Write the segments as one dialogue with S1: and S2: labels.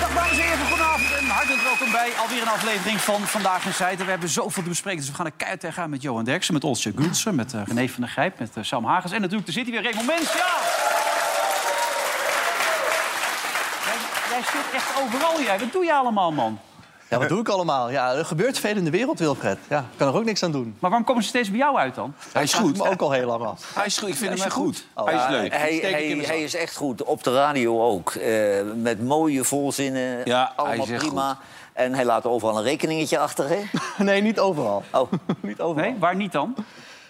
S1: Dag dames en heren, goedenavond en hartelijk welkom bij alweer een aflevering van Vandaag in Zijden. We hebben zoveel te bespreken, dus we gaan er keihard tegenaan met Johan Derksen, met Olsje Gulsen, met eh, René van der Grijp, met eh, Sam Hagens en natuurlijk, daar zit hij weer, Raymond Mens. Ja! Jij- Jij zit echt overal, jij. Wat doe je allemaal, man?
S2: Ja, wat doe ik allemaal? Ja, er gebeurt veel in de wereld, Wilfred. Ja, ik kan er ook niks aan doen.
S1: Maar waarom komen ze steeds bij jou uit dan?
S2: Hij is goed. me ook al heel lang af.
S3: Hij is goed. Ik vind
S1: Is
S3: hem
S1: je
S3: echt goed.
S2: Oh,
S3: hij is
S2: ja,
S3: leuk.
S4: Hij,
S2: Steek ik
S4: hij,
S2: in de zak.
S4: hij is echt goed, op de radio ook. Eh, met mooie volzinnen,
S3: Ja, hij
S4: allemaal
S3: is echt
S4: prima. En hij laat overal een rekeningetje achter, hè?
S2: Nee, niet overal.
S4: Oh,
S2: niet overal.
S1: Nee, waar niet dan?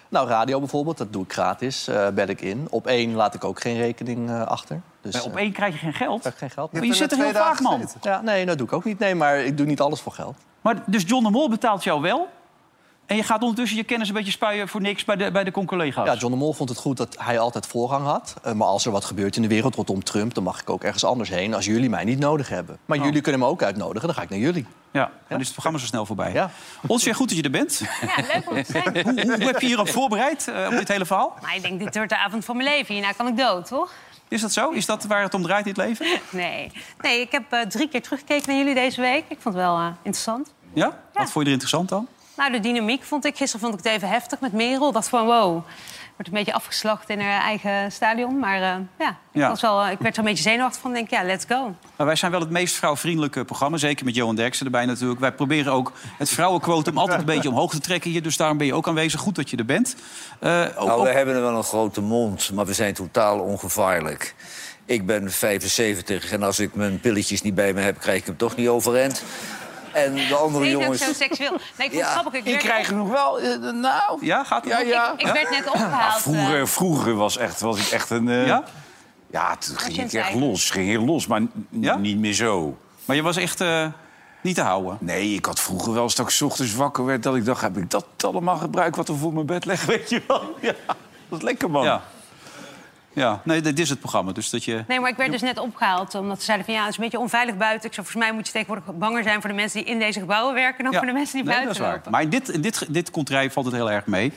S2: Nou, radio bijvoorbeeld, dat doe ik gratis. eh bed ik in. Op één laat ik ook geen rekening eh, achter. Dus,
S1: Bij
S2: eh,
S1: Op één krijg je geen geld.
S2: krijg ik geen geld.
S1: Maar je zit er heel vaak, man.
S2: Ja, nee, dat doe ik ook niet. Nee, maar ik doe niet alles voor geld.
S1: Maar dus John de Mol betaalt jou wel. En je gaat ondertussen je kennis een beetje spuien voor niks bij de, bij de con-collega's.
S2: Ja, John de Mol vond het goed dat hij altijd voorrang had. Eh, maar als er wat gebeurt in de wereld rondom Trump... dan mag ik ook ergens anders heen als jullie mij niet nodig hebben. Maar jullie kunnen me ook uitnodigen, dan ga ik naar jullie.
S1: Ja, dan is het programma zo snel voorbij.
S2: Ja.
S1: Ons weer goed dat je er bent.
S5: Ja, leuk om te zijn.
S1: hoe, hoe heb je hierop voorbereid, eh, op dit hele verhaal?
S5: Maar ik denk, dit wordt de avond van mijn leven. Hierna kan ik dood, toch?
S1: Is dat zo? Is dat waar het om draait, dit leven?
S5: Nee. Nee, ik heb eh, drie keer teruggekeken naar jullie deze week. Ik vond het wel eh, interessant.
S1: Ja? Wat vond je er interessant dan?
S5: Nou, de dynamiek vond ik... Gisteren vond ik het even heftig met Merel. Dat van, wow, wordt een beetje afgeslacht in haar eigen stadion. Maar eh, ja, ik,
S1: Ja.
S5: Was wel, eh, ik werd er een beetje zenuwachtig van. denk, ja, let's go.
S1: Maar wij zijn wel het meest vrouwvriendelijke programma. Zeker met Johan Derksen erbij natuurlijk. Wij proberen ook het vrouwenquotum altijd een beetje omhoog te trekken hier. Dus daarom ben je ook aanwezig. Goed dat je er bent. Eh, ook-
S4: nou, we
S1: ook-
S4: hebben wel een grote mond, maar we zijn totaal ongevaarlijk. Ik ben 75 en als ik mijn pilletjes niet bij me heb, krijg ik hem toch niet overeind. En de andere
S5: Nee, dat is zo
S4: jongens...
S5: seksueel. Nee, ik vond het
S4: Ja,
S5: grappig. Ik
S3: Ik
S5: werd,
S3: krijg hem nog wel. eh, nou.
S1: Ja, gaat het?
S3: Ja,
S1: nog?
S3: ja.
S5: ik, ik werd net opgehaald. eh,
S3: Vroeger, vroeger was, echt, was ik echt een. eh,
S1: Ja?
S3: ja, toen
S5: je
S3: ging ik
S5: een
S3: echt
S5: tijd?
S3: los. Ging heel los, maar n-
S1: Ja?
S3: niet meer zo.
S1: Maar je was echt eh, niet te houden.
S3: Nee, ik had vroeger wel eens dat ik 's ochtends wakker werd... dat ik dacht, heb ik dat allemaal gebruikt wat er voor mijn bed ligt? Weet je wel? Ja, dat is lekker, man.
S1: Ja. Ja, nee, dit is het programma. Dus dat je...
S5: Nee, maar ik werd dus net opgehaald. Omdat ze zeiden van ja, het is een beetje onveilig buiten. Ik zei, volgens mij moet je tegenwoordig banger zijn voor de mensen die in deze gebouwen werken... dan
S1: Ja.
S5: voor de mensen die
S1: Nee,
S5: buiten
S1: dat is waar.
S5: lopen.
S1: Maar in dit, in dit, dit contraire valt het heel erg mee.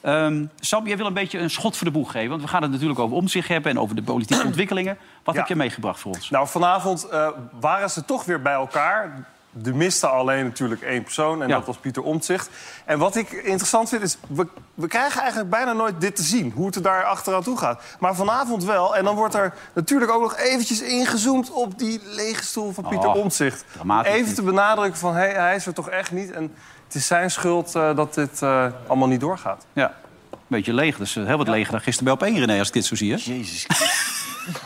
S1: Ehm, Sam, jij wil een beetje een schot voor de boeg geven. Want we gaan het natuurlijk over omzicht hebben en over de politieke ontwikkelingen. Wat
S6: Ja.
S1: heb je meegebracht voor ons?
S6: Nou, vanavond eh, waren ze toch weer bij elkaar. Er miste alleen natuurlijk één persoon en
S1: Ja.
S6: dat was Pieter Omtzigt. En wat ik interessant vind is, we, we krijgen eigenlijk bijna nooit dit te zien. Hoe het er daar achteraan toe gaat. Maar vanavond wel. En dan wordt er natuurlijk ook nog eventjes ingezoomd op die lege stoel van Pieter
S1: Oh,
S6: Omtzigt.
S1: dramatisch
S6: Even
S1: dit.
S6: te benadrukken van, hey, hij is er toch echt niet. En het is zijn schuld eh, dat dit eh, allemaal niet doorgaat.
S1: Ja, een beetje leeg. Dus eh, heel wat leger dan gisteren bij op één, René, als ik dit zo zie. Hè?
S3: Jezus.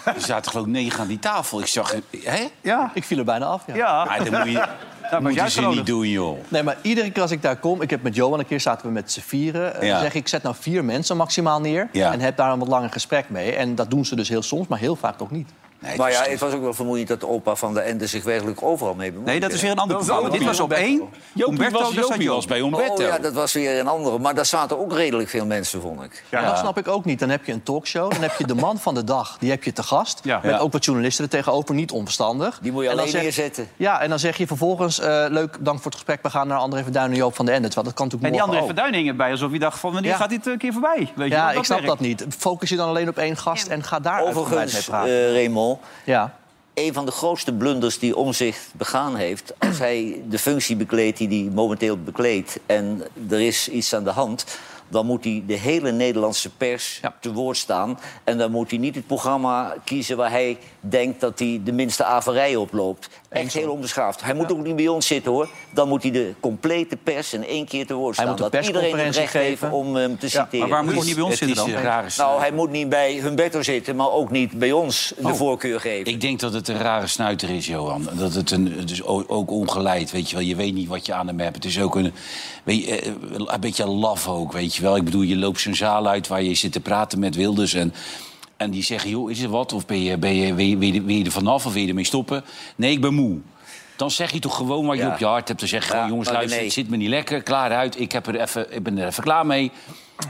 S3: er zaten geloof ik negen aan die tafel. Ik zag... Hè?
S1: Ja.
S2: Ik viel er bijna af, ja.
S1: Ja.
S3: Maar dat moet je, dat
S1: jij
S3: moeten ze
S1: geloof
S3: niet doen, joh.
S2: Nee, maar iedere keer als ik daar kom... Ik heb met Johan een keer zaten we met z'n vieren. eh,
S3: Ja.
S2: Dan zeg ik, ik zet nou vier mensen maximaal neer.
S3: Ja.
S2: En heb daar een wat langer gesprek mee. En dat doen ze dus heel soms, maar heel vaak ook niet.
S3: Nee,
S4: Maar
S3: het
S4: ja,
S3: is-
S4: het was ook wel vermoeiend dat de opa van de Ende zich werkelijk overal mee bemoeide.
S1: Nee, dat is weer een ander
S3: is
S1: programma. Dit was op
S3: Humberto.
S1: één. Humberto,
S3: was,
S1: daar staat
S3: Jopie
S1: Joop.
S3: was bij
S4: Oh
S3: Umberto.
S4: ja, dat was weer een andere. Maar daar zaten ook redelijk veel mensen, vond ik.
S2: En Dat snap ik ook niet. Dan heb je een talkshow, dan heb je de man van de dag. Die heb je te gast,
S1: Ja.
S2: met
S1: Ja.
S2: ook wat journalisten er tegenover. Niet onverstandig.
S4: Die moet je
S2: En dan
S4: alleen
S2: zeg-
S4: neerzetten.
S2: Ja, en dan zeg je vervolgens... eh, leuk, dank voor het gesprek. We gaan naar André Verduin en Joop van den Ende. Terwijl dat kan
S1: En
S2: natuurlijk
S1: Oh. die
S2: morgen
S1: andere
S2: ook.
S1: verduining erbij. Alsof je dacht van, wanneer
S2: Ja.
S1: gaat dit een keer voorbij? Weet je,
S2: Ja,
S1: want
S2: ik snap
S1: werkt.
S2: dat niet. Focus je dan alleen op één gast
S5: Ja.
S2: en ga daar uitgebreid mee
S4: Overigens,
S2: praten.
S4: eh, Raymond,
S2: ja.
S4: een van de grootste blunders die Omzicht begaan heeft... als hij de functie bekleedt die hij momenteel bekleedt... en er is iets aan de hand... dan moet hij de hele Nederlandse pers
S2: Ja.
S4: te woord staan. En dan moet hij niet het programma kiezen waar hij denkt... dat hij de minste averij oploopt. Echt heel onbeschaafd. Hij moet ook niet bij ons zitten, hoor. Dan moet hij de complete pers in één keer te woord
S2: Hij
S4: staan.
S2: moet een
S4: dat iedereen het recht
S2: persconferentie
S4: heeft
S2: geven.
S4: om hem te citeren.
S1: Maar waar moet hij niet bij ons
S3: Het is
S1: zitten dan?
S3: een rare snuit.
S4: Nou, hij moet niet bij Humberto zitten, maar ook niet bij ons
S2: Oh.
S4: de voorkeur geven.
S3: Ik denk dat het een rare snuiter is, Johan. Dat het een, dus o- ook ongeleid, weet je wel. Je weet niet wat je aan hem hebt. Het is ook een, weet je, eh, een beetje laf ook, weet je wel. Ik bedoel, je loopt zo'n zaal uit waar je zit te praten met Wilders... En, en die zeggen, joh, is er wat? Of ben je, ben je, wil, je, wil, je, wil je er vanaf of wil je ermee stoppen? Nee, ik ben moe. Dan zeg je toch gewoon wat je
S4: Ja.
S3: op je hart hebt. Dan zeg je gewoon,
S4: Ja,
S3: jongens,
S4: maar
S3: luister,
S4: nee.
S3: het zit me niet lekker. Klaar uit, ik, heb er even, ik ben er even klaar mee.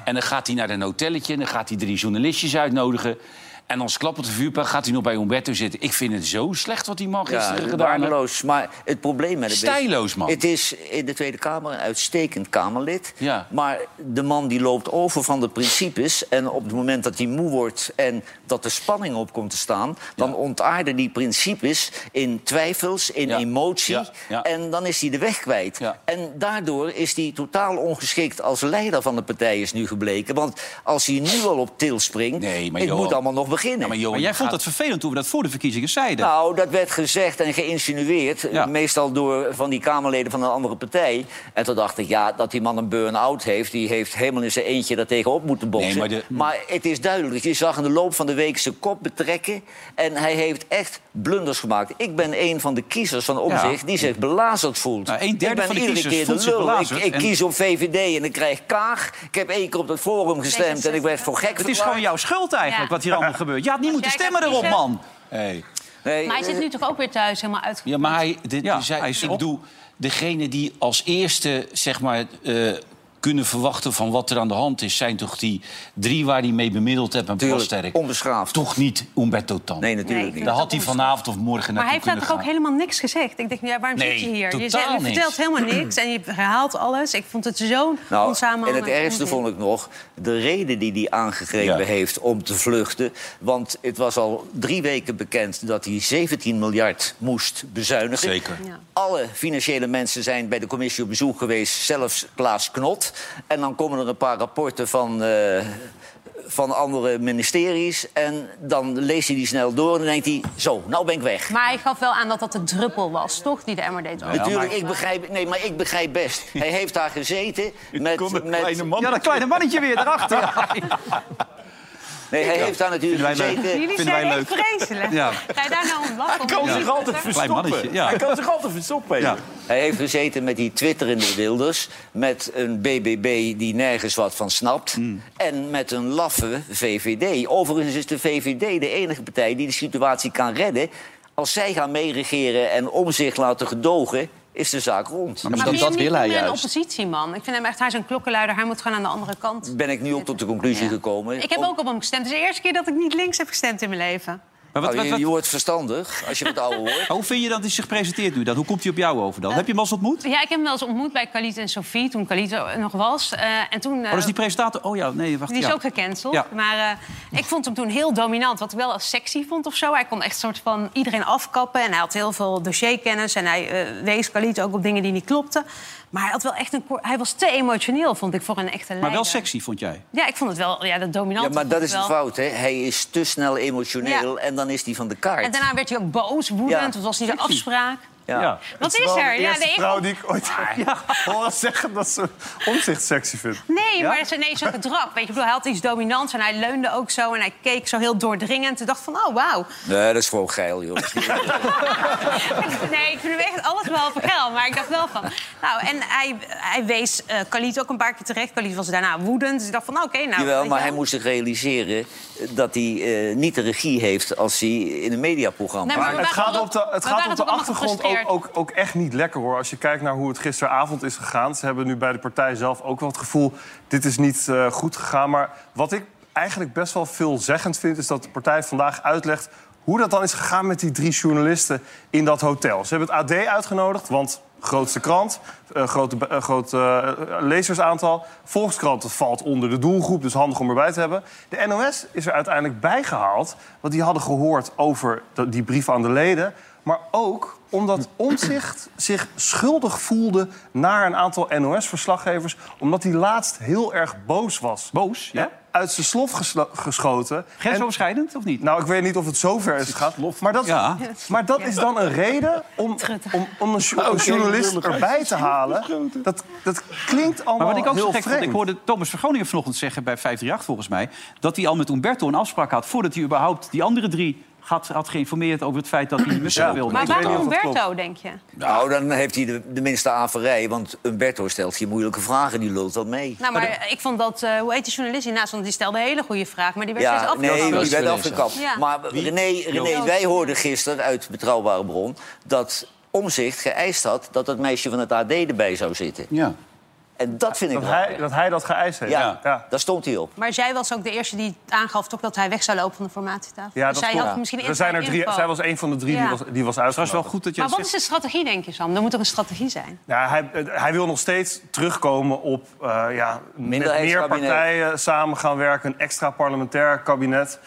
S3: En dan gaat hij naar een hotelletje en dan gaat hij drie journalistjes uitnodigen. En dan klappert de vuurpijl, gaat hij nog bij Umberto zitten. Ik vind het zo slecht wat die man
S4: Ja,
S3: gisteren gedaan heeft.
S4: waardeloos. Maar het probleem met het
S3: Stijloos, man.
S4: Het is in de Tweede Kamer een uitstekend Kamerlid.
S3: Ja.
S4: Maar de man die loopt over van de principes. En op het moment dat hij moe wordt en dat er spanning op komt te staan... dan ontaarden die principes in twijfels, in
S3: Ja.
S4: emotie.
S3: Ja. Ja.
S4: En dan is hij de weg kwijt.
S3: Ja.
S4: En daardoor is hij totaal ongeschikt als leider van de partij is nu gebleken. Want als hij nu al op til springt,
S3: Nee, maar
S4: het
S3: Johan-
S4: moet allemaal nog beginnen.
S3: Ja, maar Johan,
S1: Maar
S3: je
S1: jij vond
S3: gaat-
S1: het vervelend toen we dat voor de verkiezingen zeiden.
S4: Nou, dat werd gezegd en geïnsinueerd.
S1: Ja.
S4: Meestal door van die Kamerleden van een andere partij. En toen dacht ik, ja, dat die man een burn-out heeft... die heeft helemaal in zijn eentje daar tegenop moeten boksen.
S3: Nee, maar
S4: maar,
S3: de-
S4: het is duidelijk. Je zag in de loop van de week zijn kop betrekken. En hij heeft echt blunders gemaakt. Ik ben een van de kiezers van Omzicht die zich belazerd voelt.
S1: Nou, een derde
S4: ik ben
S1: van de
S4: iedere
S1: kiezers
S4: keer
S1: voelt
S4: de
S1: zich
S4: lul. Ik,
S1: belazerd
S4: ik
S1: en-
S4: kies op VVD en ik krijg kaag. Ik heb één keer op het forum gestemd en ik werd voor gek
S1: het is
S4: verklaard.
S1: gewoon jouw schuld eigenlijk,
S5: Ja.
S1: wat hier allemaal gebeurt. Je had niet
S5: Als
S1: moeten
S5: jij
S1: stemmen
S5: gaat
S1: erop,
S5: kiezen-
S1: man.
S3: Hey.
S4: Nee,
S5: Maar hij zit nu toch ook weer thuis helemaal
S3: Ja,
S5: uitgekomen?
S3: maar hij, dit,
S1: Ja,
S3: zij-
S1: hij is
S3: ik
S1: op.
S3: bedoel, degene die als eerste zeg maar, eh, kunnen verwachten van wat er aan de hand is, zijn toch die drie waar hij mee bemiddeld hebt en
S4: Tuurlijk,
S3: Plasterk.
S4: onbeschaafd.
S3: Toch niet Umberto Tan.
S4: Nee, natuurlijk
S5: Nee,
S4: niet.
S5: ik
S3: Daar had hij vanavond of morgen
S5: Maar
S3: naartoe
S5: hij heeft daar
S3: kunnen
S5: toch
S3: gaan.
S5: ook helemaal niks gezegd? Ik denk, ja, waarom
S3: Nee,
S5: zit je hier? Je,
S3: totaal
S5: zegt- je
S3: niks.
S5: vertelt helemaal niks en je herhaalt alles. Ik vond het zo'n
S4: Nou,
S5: onsamenhangend
S4: en het ergste
S5: onzin.
S4: vond ik nog de reden die hij aangegrepen
S3: Ja.
S4: heeft om te vluchten. Want het was al drie weken bekend dat hij 17 miljard moest bezuinigen.
S3: Zeker.
S5: Ja.
S4: Alle financiële mensen zijn bij de commissie op bezoek geweest, zelfs Klaas Knot. En dan komen er een paar rapporten van, eh, van andere ministeries. En dan leest hij die snel door en dan denkt hij, zo, nou ben ik weg.
S5: Maar hij gaf wel aan dat dat de druppel was, toch? Die de emmer deed. openen.
S4: Natuurlijk, ik begrijp, nee, maar ik begrijp best. Hij heeft daar gezeten
S7: Kom
S4: met,
S7: een
S4: met,
S7: kleine man.
S1: Ja, dat kleine mannetje weer erachter. Ja,
S4: Nee, hij heeft daar natuurlijk
S1: Vinden wij leuk.
S4: gezeten.
S5: Jullie
S1: Vinden
S5: zijn
S1: wij
S5: echt
S1: leuk.
S5: vreselijk.
S1: Ja.
S5: Ga je daar nou om lachen?
S8: kan
S5: Ja.
S8: zich altijd
S1: Klein mannetje,
S8: verstoppen.
S1: ja.
S8: Hij kan zich altijd verstoppen.
S1: Ja.
S8: Erik.
S4: Hij heeft gezeten met die twitterende Wilders. Met een BBB die nergens wat van snapt.
S1: Hmm.
S4: En met een laffe VVD. Overigens is de VVD de enige partij die de situatie kan redden. Als zij gaan meeregeren en om zich laten gedogen, is de zaak rond.
S5: Maar
S2: dat
S5: vind je hem
S2: wil
S5: niet
S2: hij
S5: meer een
S2: juist.
S5: oppositieman. Ik vind hem echt, hij is een klokkenluider. Hij moet gewoon aan de andere kant.
S4: Dus Ben ik nu ook tot de conclusie gekomen.
S5: Ik heb
S4: Om-
S5: ook op hem gestemd. Het is de eerste keer dat ik niet links heb gestemd in mijn leven.
S1: Maar wat,
S4: Nou,
S1: wat,
S4: je,
S1: wat-
S4: je wordt verstandig als je wat ouder wordt.
S1: hoe vind Oh, je dat hij zich presenteert nu? Dan? Hoe komt hij op jou over dan? Heb je hem al eens ontmoet?
S5: Ja, ik heb hem wel eens ontmoet bij Khalid en Sophie, toen Khalid er nog was. Eh, en toen, eh,
S1: Oh, dat is die presentator. Oh ja, nee, wacht.
S5: die is
S1: ja.
S5: ook gecanceld.
S1: Ja.
S5: Maar eh, ik vond hem toen heel dominant, wat ik wel als sexy vond of zo. Hij kon echt soort van iedereen afkappen. En hij had heel veel dossierkennis. En hij eh, wees Khalid ook op dingen die niet klopten. Maar hij, had wel echt een, ko- hij was te emotioneel, vond ik, voor een echte leider.
S1: Maar wel sexy, vond jij?
S5: Ja, ik vond het wel, ja, dat dominant.
S4: Ja, maar dat is de fout, hè? Hij is te snel emotioneel
S5: Ja.
S4: en dan is hij van de kaart.
S5: En daarna werd hij ook boos, woedend.
S4: Ja.
S5: want Het was niet de afspraak.
S1: Ja.
S5: Wat
S6: Het
S5: is
S6: wel
S5: er?
S6: De
S5: Ja,
S6: eerste
S5: nee, ik-
S6: vrouw die ik ooit hoor zeggen dat ze omzicht sexy vindt.
S5: Nee, maar ze- nee, zijn gedrag. Weet je, ik bedoel, hij had iets dominants en hij leunde ook zo en hij keek zo heel doordringend. En dacht van, oh wauw.
S4: Nee, dat is gewoon geil, joh.
S5: nee, ik vind hem echt alles wel geil, maar ik dacht wel van. Nou, en hij, hij wees eh Khalid ook een paar keer terecht. Khalid was daarna woedend. Dus ik dacht van, nou, oké, nou. weet
S4: Jawel,
S5: je
S4: maar
S5: wel.
S4: hij moest zich realiseren dat hij eh, niet de regie heeft als hij in een mediaprogramma.
S5: Nee, maar-
S4: werkt.
S6: Het
S5: waren
S6: gaat
S5: ook-
S6: op de, het
S5: we
S6: gaat
S5: waren
S6: op de
S5: toch allemaal
S6: achtergrond ook,
S5: gefrustreerd.
S6: ook, ook echt niet lekker hoor. Als je kijkt naar hoe het gisteravond is gegaan. Ze hebben nu bij de partij zelf ook wel het gevoel. Dit is niet eh, goed gegaan. Maar wat ik eigenlijk best wel veelzeggend vind. Is dat de partij vandaag uitlegt. Hoe dat dan is gegaan met die drie journalisten in dat hotel. Ze hebben het AD uitgenodigd, want grootste krant, eh, grote, eh, groot eh, lezersaantal. Volkskrant dat valt onder de doelgroep, dus handig om erbij te hebben. De NOS is er uiteindelijk bijgehaald, want die hadden gehoord over de- die brief aan de leden. Maar ook omdat Omzicht zich schuldig voelde naar een aantal NOS-verslaggevers. Omdat hij laatst heel erg boos was.
S1: Boos, ja?
S6: Uit zijn slof geslo- geschoten. En-
S1: Grensoverschrijdend of niet?
S6: nou, ik weet niet of het zover is gegaan. Maar dat,
S1: Ja.
S6: maar dat is dan een reden om, om, om een, jo-
S1: Nou,
S6: een journalist erbij te halen. Dat, dat klinkt allemaal
S1: Maar wat ik ook
S6: heel
S1: zo gek vond,
S6: vreemd.
S1: ik hoorde Thomas Vergroningen vanochtend zeggen bij 538 volgens mij... dat hij al met Umberto een afspraak had voordat hij überhaupt die andere drie had, had geïnformeerd over het feit dat hij niet met hem wilde.
S5: Maar
S6: weet
S5: waarom
S6: niet of dat
S5: Humberto, denk je?
S4: Nou, dan heeft hij de, de minste averij, want Umberto stelt geen moeilijke vragen, die lult dat mee.
S5: Nou, maar ik vond dat, eh, hoe heet die journalist die naast stond? Die stelde een hele goede vraag, maar die werd steeds
S4: nee,
S5: afgelopen.
S4: die werd
S3: Ja.
S4: afgekapt.
S5: Ja.
S4: Maar René, René, wij hoorden gisteren uit Betrouwbare Bron... dat omzicht geëist had dat dat meisje van het AD erbij zou zitten.
S3: Ja.
S4: En dat vind ik
S6: Dat
S4: wel.
S6: hij, dat hij dat geëist heeft.
S4: ja,
S6: ja.
S4: daar stond hij op.
S5: Maar zij was ook de eerste die aangaf toch dat hij weg zou lopen van de formatietafel.
S6: Ja,
S5: Dus
S6: dat
S5: zij
S6: klopt.
S5: had misschien
S6: er zijn er
S5: inside
S6: drie,
S5: info.
S6: zij was een van de drie
S5: Ja.
S6: die was, die was
S1: Het was
S6: uitgenodigd.
S1: wel goed dat je
S5: Maar
S1: dat
S5: wat is
S1: zegt.
S5: de strategie, denk je, Sam? Er moet toch een strategie zijn?
S6: Ja, hij, eh, hij wil nog steeds terugkomen op eh, ja, met meer
S4: Minderheidskabinet.
S6: partijen samen gaan werken. Een extra parlementair kabinet.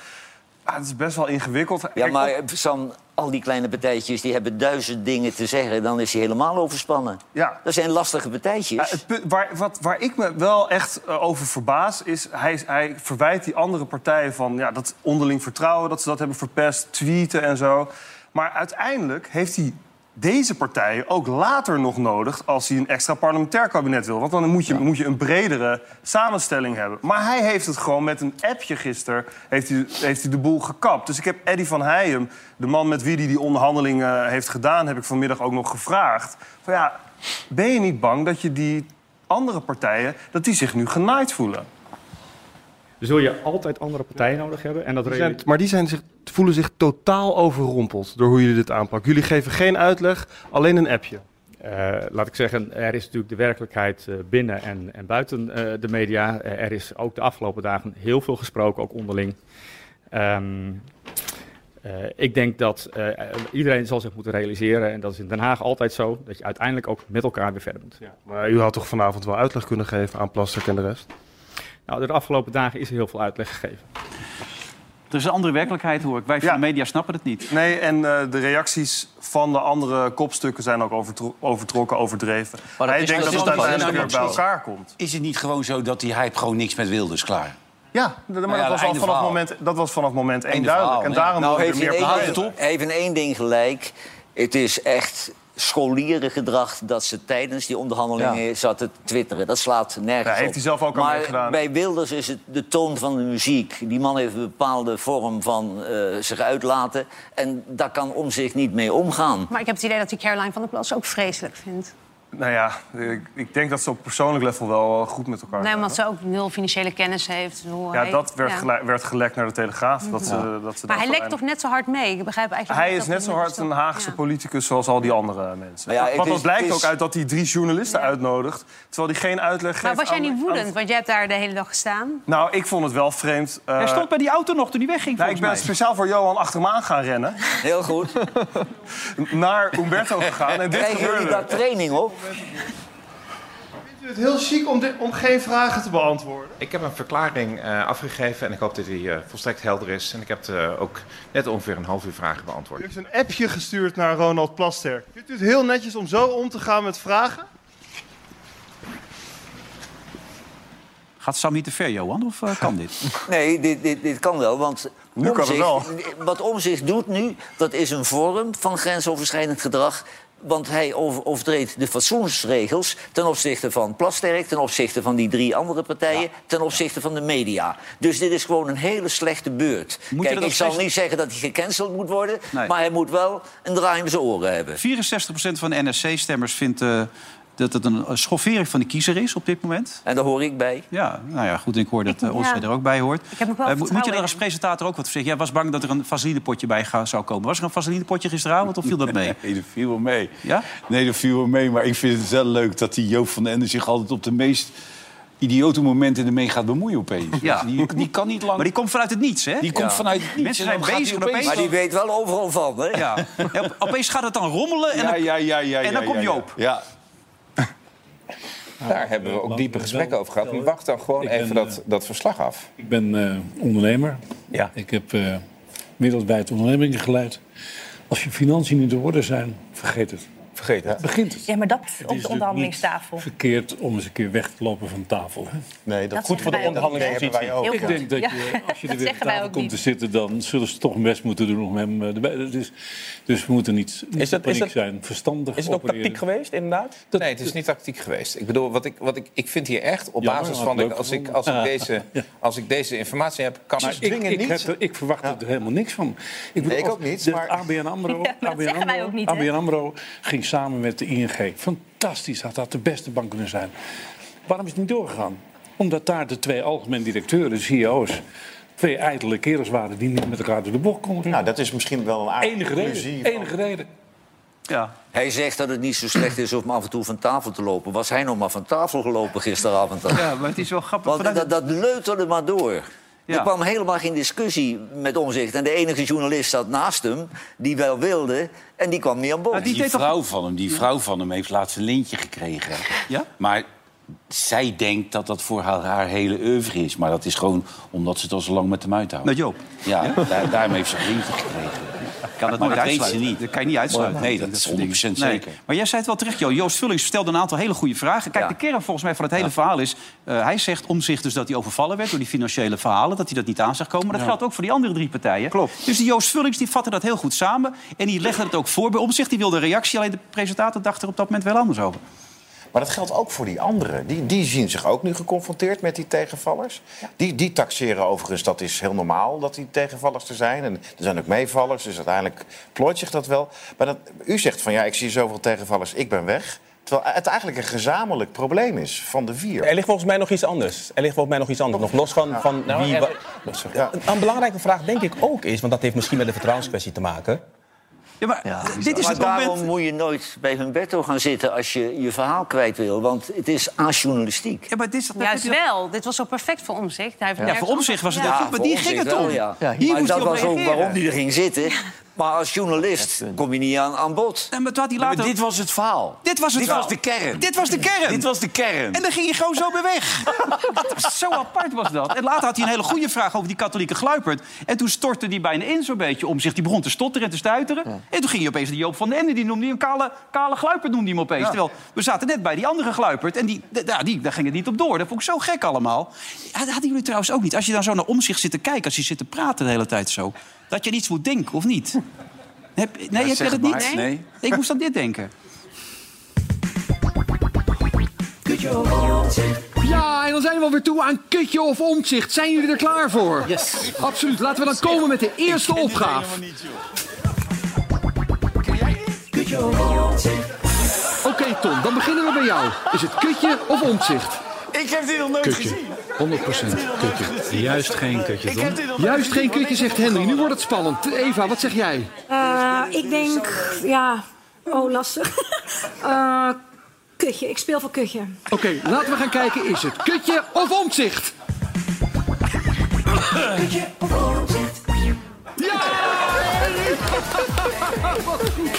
S6: Ah, het is best wel ingewikkeld.
S4: Ja,
S6: Kijk,
S4: maar
S6: op-
S4: eh, Sam, al die kleine partijtjes die hebben duizend dingen te zeggen. Dan is hij helemaal overspannen.
S6: Ja.
S4: Dat zijn lastige partijtjes.
S6: Ja, het punt waar, wat, waar ik me wel echt eh, over verbaas, is hij, hij verwijt die andere partijen van ja, dat onderling vertrouwen, dat ze dat hebben verpest, tweeten en zo. Maar uiteindelijk heeft hij deze partijen ook later nog nodig als hij een extra parlementair kabinet wil. Want dan moet je, moet je een bredere samenstelling hebben. Maar hij heeft het gewoon met een appje gisteren heeft hij, heeft hij de boel gekapt. Dus ik heb Eddy van Heijem, de man met wie hij die onderhandelingen heeft gedaan, heb ik vanmiddag ook nog gevraagd. Van ja, ben je niet bang dat je die andere partijen, dat die zich nu genaaid voelen?
S8: zul je altijd andere partijen nodig hebben. En dat
S9: Die zijn- maar die zijn zich, voelen zich totaal overrompeld door hoe jullie dit aanpakken. Jullie geven geen uitleg, alleen een appje.
S8: Eh, laat ik zeggen, er is natuurlijk de werkelijkheid eh, binnen en, en buiten eh, de media. Eh, er is ook de afgelopen dagen heel veel gesproken, ook onderling. Ehm, eh, ik denk dat eh, eh, iedereen zal zich moeten realiseren, en dat is in Den Haag altijd zo, dat je uiteindelijk ook met elkaar weer verder moet.
S9: Maar u had toch vanavond wel uitleg kunnen geven aan Plasterk en de rest?
S8: Nou, de afgelopen dagen is er heel veel uitleg gegeven.
S1: Er is een andere werkelijkheid, hoor ik. Wij van
S6: Ja.
S1: de media snappen het niet.
S6: Nee, en eh, de reacties van de andere kopstukken zijn ook overtro- overtrokken, overdreven.
S2: Maar dat
S6: Hij
S2: is-
S6: denkt
S3: dat
S6: dat
S3: is
S6: het
S3: wel- dat
S6: uiteindelijk weer
S3: is
S6: bij
S3: wel-
S6: elkaar komt.
S3: Is het niet gewoon zo dat die hype gewoon niks met Wilders klaar?
S6: Ja, d- maar
S3: ja,
S6: dat, was al
S3: einde
S6: vanaf
S3: verhaal.
S6: moment, dat was vanaf moment één
S3: Einde
S6: duidelijk.
S3: verhaal,
S6: en
S3: ja.
S6: daarom
S4: nou,
S6: worden
S4: heeft
S6: er
S4: in,
S6: meer partijen.
S4: één, hij heeft in één ding gelijk. Het is echt scholierengedrag dat ze tijdens die onderhandelingen zaten te twitteren. Dat slaat nergens
S6: Ja, heeft
S4: op.
S6: hij zelf ook al
S4: maar
S6: meegedaan.
S4: bij Wilders is het de toon van de muziek. Die man heeft een bepaalde vorm van eh, zich uitlaten. En daar kan om zich niet mee omgaan.
S5: Maar ik heb het idee dat die Caroline van der Plas ook vreselijk vindt.
S6: Nou ja, ik, ik denk dat ze op persoonlijk level wel eh, goed met elkaar
S5: Nee,
S6: zijn.
S5: omdat ze ook nul financiële kennis heeft. Hoe
S6: Ja,
S5: hij-
S6: dat werd,
S5: ja.
S6: gele- werd gelekt naar de Telegraaf. Dat
S4: Mhm.
S6: ze, dat ze
S5: Maar hij
S6: dat
S5: lekt toch net zo hard mee? Ik begrijp eigenlijk
S6: Hij
S5: niet
S6: is
S5: dat
S6: net zo hard een
S5: ondertussen-
S6: Haagse
S5: Ja.
S6: politicus zoals al die andere mensen.
S4: Maar ja, het
S6: Want dat
S4: is-
S6: blijkt
S4: het is-
S6: ook uit dat hij drie journalisten uitnodigt... terwijl hij geen uitleg
S5: Maar
S6: geeft
S5: was jij
S6: aan-
S5: niet
S6: aan-
S5: woedend? Want jij hebt daar de hele dag gestaan.
S6: Nou, ik vond het wel vreemd. eh,
S1: Hij stond bij die auto nog toen hij wegging,
S6: nou, ik ben
S1: volgens mij.
S6: speciaal voor Johan achter hem aan gaan rennen.
S4: Heel goed.
S6: Naar Umberto gegaan en dit
S4: Krijgen jullie daar
S6: gebeurde.
S4: training op?
S9: Het is heel chic om, om geen vragen te beantwoorden.
S10: Ik heb een verklaring eh, afgegeven en ik hoop dat die eh, volstrekt helder is. En ik heb eh, ook net ongeveer een half uur vragen beantwoord.
S9: U heeft een appje gestuurd naar Ronald Plasterk. Vindt u het heel netjes om zo om te gaan met vragen?
S1: Gaat Sam niet te ver, Johan? Of eh, kan dit?
S4: Nee, dit, dit, dit kan wel, want
S6: Nu kan het
S4: Omtzigt-
S6: wel.
S4: wat omzicht doet nu, dat is een vorm van grensoverschrijdend gedrag. Want hij over- overtreedt de fatsoensregels ten opzichte van Plasterk... ten opzichte van die drie andere partijen, ten opzichte van de media. Dus dit is gewoon een hele slechte beurt.
S1: je
S4: Kijk,
S1: dat
S4: ik
S1: ook
S4: zal
S1: steeds-
S4: niet zeggen dat hij gecanceld moet worden...
S1: Nee.
S4: maar hij moet wel een draai om zijn oren hebben.
S1: 64% van de NSC-stemmers vindt eh, dat het een eh, schoffering van de kiezer is op dit moment.
S4: En daar hoor ik bij.
S1: Ja, nou ja, goed. Ik hoor dat
S5: Ik-
S1: uh,
S5: ja.
S1: er ook bij hoort.
S5: Ik heb nog wel
S1: Eh, mo- moet je
S5: vertrouwen
S1: daar als
S5: in.
S1: presentator ook wat voor zeggen? Jij was bang dat er een vaselinepotje bij ga- zou komen. Was er een vaselinepotje gisteravond of viel dat mee?
S3: Nee, dat viel wel mee.
S1: Ja?
S3: Nee, dat viel wel mee. Maar ik vind het wel leuk dat die Joop van den Ende zich altijd op de meest idiote momenten ermee gaat bemoeien opeens.
S1: Ja.
S3: Die, die kan niet lang...
S1: Maar die komt vanuit het niets, hè?
S3: die komt vanuit het niets.
S1: Mensen
S3: en dan
S1: zijn
S3: gaat
S1: bezig
S3: hij
S1: en
S4: Maar die weet wel overal van, hè?
S1: Ja. Ja, op- opeens gaat het dan rommelen en
S3: Ja,
S1: dan-
S3: ja, ja, ja,
S1: en dan
S3: ja,
S1: komt
S3: ja, ja.
S1: Joop.
S3: Ja.
S10: Daar hebben we ook diepe gesprekken over gehad. Maar wacht dan gewoon even
S3: eh,
S10: dat, dat verslag af.
S11: Ik ben eh, ondernemer.
S10: Ja.
S11: Ik heb eh wereldwijd ondernemingen geleid. Als je financiën niet in orde zijn, vergeet het.
S10: Vergeet het.
S11: Begint het.
S12: Ja, maar dat is op
S11: is
S12: de
S11: dus
S12: onderhandelingstafel.
S11: niet verkeerd om eens een keer weg te lopen van tafel. hè?
S10: Nee,
S12: Dat goed voor de
S10: onderhandelingspositie.
S12: Heel
S11: Ik
S12: goed.
S11: denk dat
S12: Ja,
S11: je, als je er
S12: dat
S11: weer aan
S12: zeggen wij
S11: tafel
S12: ook
S11: komt
S12: niet.
S11: te zitten... dan zullen ze toch hun best moeten doen om hem eh, erbij... Dat is, dus we moeten niet, niet
S10: Is dat-
S11: in paniek
S10: is dat-
S11: zijn. Verstandig
S10: Is het ook
S11: opereren.
S10: tactiek geweest, inderdaad? nee, het is niet tactiek geweest. Ik bedoel, wat ik, wat ik, ik vind hier echt op
S11: Jammer,
S10: basis
S11: had
S10: van...
S11: leuk
S10: ik- als, ik,
S11: gevonden.
S10: als, ik deze, als ik deze informatie heb, kan
S11: Maar
S10: ik
S11: ik,
S10: dwingen
S11: ik,
S10: niet...
S11: heb er- ik verwacht er helemaal niks van. bedoel,
S10: Nee, ik
S11: als
S10: ook niet,
S11: de
S10: maar-
S11: ABN AMRO,
S12: Ja, maar dat
S11: ABN,
S12: zeggen wij
S11: AMRO
S12: ook niet, hè?
S11: ABN AMRO ging samen met de ING. Fantastisch, had dat de beste bank kunnen zijn. Waarom is het niet doorgegaan? Omdat daar de twee algemeen directeuren, CEO's... twee ijdele
S10: Nou,
S11: kerels waren die niet met elkaar door de bocht konden.
S10: dat is misschien wel een
S11: enige reden. Enige reden.
S1: Ja.
S4: Hij zegt dat het niet zo slecht is om af en toe van tafel te lopen. Was hij nog maar van tafel gelopen gisteravond? dan?
S1: ja, maar het is wel grappig.
S4: Want
S1: Vanuit-
S4: dat, dat leuterde maar door.
S1: Ja.
S4: Er kwam helemaal geen discussie met omzicht. En de enige journalist zat naast hem, die wel wilde, en die kwam niet aan boord.
S1: Maar
S3: Die vrouw van hem, die vrouw van hem heeft laatst een lintje gekregen.
S1: Ja?
S3: Maar zij denkt dat dat voor haar, haar hele oeuvre is. Maar dat is gewoon omdat ze het al zo lang met hem uithoudt.
S1: Met Joop.
S3: Ja, daar- daarom heeft ze een lintje gekregen.
S1: kan dat
S3: Maar
S1: nooit
S3: dat weet
S1: uitsluiten.
S3: ze niet.
S1: Dat kan je niet uitsluiten.
S3: Nee, dat is 100%
S1: Nee.
S3: zeker.
S1: Maar jij zei het wel terecht, Jo. Joost Vullings stelde een aantal hele goede vragen. Kijk,
S4: Ja.
S1: de kern volgens mij van het hele verhaal is... eh, hij zegt om zich dus dat hij overvallen werd door die financiële verhalen... dat hij dat niet aan zag komen. Maar dat geldt ook voor die andere drie partijen. Klopt. Dus die Joost Vullings die vatte dat heel goed samen. En die legde het ook voor bij omzicht. Die wilde een reactie, alleen de presentator dacht er op dat moment wel anders over.
S12: Maar dat geldt ook voor die anderen. Die, die zien zich ook nu geconfronteerd met die tegenvallers. Die, die taxeren overigens, dat is heel normaal dat die tegenvallers er zijn. En er zijn ook meevallers, dus uiteindelijk plooit zich dat wel. Maar dat, u zegt van ja, ik zie zoveel tegenvallers, ik ben weg. Terwijl het eigenlijk een gezamenlijk probleem is van de vier.
S13: Er ligt volgens mij nog iets anders. Er ligt volgens mij nog iets anders. Nog los van, van
S12: Nou,
S13: wie...
S12: er-
S13: wa- Sorry. Een, een belangrijke vraag denk ik ook is... want dat heeft misschien met de vertrouwenskwestie te maken...
S1: Ja, maar dit is
S4: maar
S1: het
S4: daarom
S1: moment...
S4: moet je nooit bij Humberto gaan zitten als je je verhaal kwijt wil. Want het is ajournalistiek.
S1: Ja, maar dit is, dat
S5: Juist
S1: heb je-
S5: wel. Dit was zo perfect voor omzicht. Hij heeft
S1: Ja,
S5: nergens
S1: voor Omtzigt was het
S5: Ja.
S1: echt goed, maar die
S4: voor
S1: ging
S4: ons
S1: het om.
S4: wel, Ja.
S1: Ja, hier
S4: maar
S1: moest
S4: dat
S1: hij op
S4: was ook
S1: reageren.
S4: waarom hij er ging zitten. Maar als journalist kom je niet aan, aan bod.
S1: Nee, maar toen had hij
S3: Ja, maar
S1: later...
S3: dit was het verhaal.
S1: Dit was het
S3: Dit
S1: wel.
S3: was de kern.
S1: Dit was de kern.
S3: Dit was de kern.
S1: En dan ging je gewoon zo mee weg. Dat was- zo apart was dat. En later had hij een hele goede vraag over die katholieke gluipert. En toen stortte die bijna in zo'n beetje om zich. Die begon te stotteren en te stuiteren. En toen ging je opeens die Joop van den Ende, die noemde hij een kale, kale gluipert noemde hij hem opeens. Terwijl we zaten net bij die andere gluipert. En die, d- ja, die, daar ging het niet op door. Dat vond ik zo gek allemaal. Had- Hadden jullie trouwens ook niet. Als je dan zo naar om zich zit te kijken, als je zit te praten de hele tijd zo. Dat je aan iets moet denken, of niet? Heb, nee, heb jij
S3: zeg
S1: dat
S3: maar.
S1: niet?
S3: Nee. Nee.
S1: Ik moest aan dit denken.
S14: Ja, en dan zijn we alweer toe aan kutje of omzicht. Zijn jullie er klaar voor? Yes. Absoluut. Laten we dan komen met de eerste opgave. Oké, Tom, dan beginnen we bij jou. Is het kutje of omzicht?
S15: Ik heb dit nog nooit gezien.
S14: 100% kutje. Juist geen kutje,
S15: Ik heb dit nog nooit
S14: Juist
S15: gezien,
S14: geen
S15: want
S14: kutje, zegt Henry. Nu wordt het spannend. Eva, wat zeg jij?
S16: Eh, ik denk, ja, oh lastig. Eh, kutje, ik speel voor kutje.
S14: Oké, laten we gaan kijken. Is het kutje of omzicht?
S15: Kutje op oorzicht. Ja! Wat goed.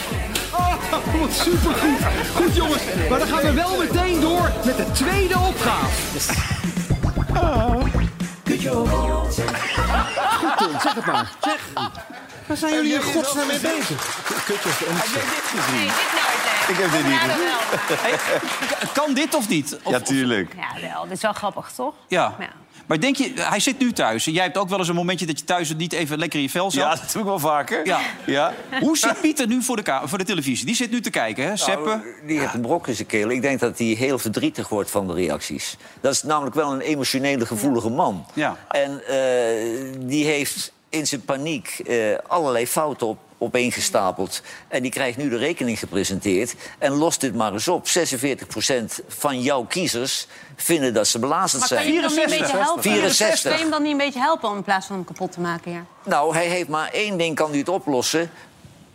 S14: Oh, wat supergoed. Goed, jongens. Maar dan gaan we wel meteen door met de tweede opgave.
S15: Kutje op oorzicht.
S14: Goed, Tom. Zeg het maar. Zeg. Waar zijn jullie in godsnaam mee bezig?
S1: Kutje of
S5: Nee, dit nou, nooit, hè.
S1: Ik heb dit niet
S5: Ja, dat
S1: gezien.
S5: wel.
S1: Hey, kan dit of niet? Of-
S3: Ja, tuurlijk.
S5: Ja, wel. Dit is wel grappig, toch?
S1: Ja. Maar denk je, hij zit nu thuis. En jij hebt ook wel eens een momentje dat je thuis niet even lekker in je vel zat. Ja,
S3: dat doe ik wel vaker.
S1: Ja.
S3: Ja.
S1: Hoe zit Pieter nu voor de, ka- voor de televisie? Die zit nu te kijken, hè? Seppen.
S2: eh,
S4: Nou, die heeft een brok in zijn keel. Ik denk dat hij heel verdrietig wordt van de reacties. Dat is namelijk wel een emotionele, gevoelige man.
S1: Ja.
S4: En eh, die heeft in zijn paniek eh, allerlei fouten op, opeengestapeld. En die krijgt nu de rekening gepresenteerd. En lost dit maar eens op. 46% van jouw kiezers vinden dat ze belazerd
S5: Maar
S4: zijn.
S5: kan je hem dan niet een beetje helpen? Kan je
S4: 64.
S5: hem dan niet een beetje helpen om in plaats van hem kapot te maken? Ja.
S4: Nou, hij heeft maar één ding kan hij het oplossen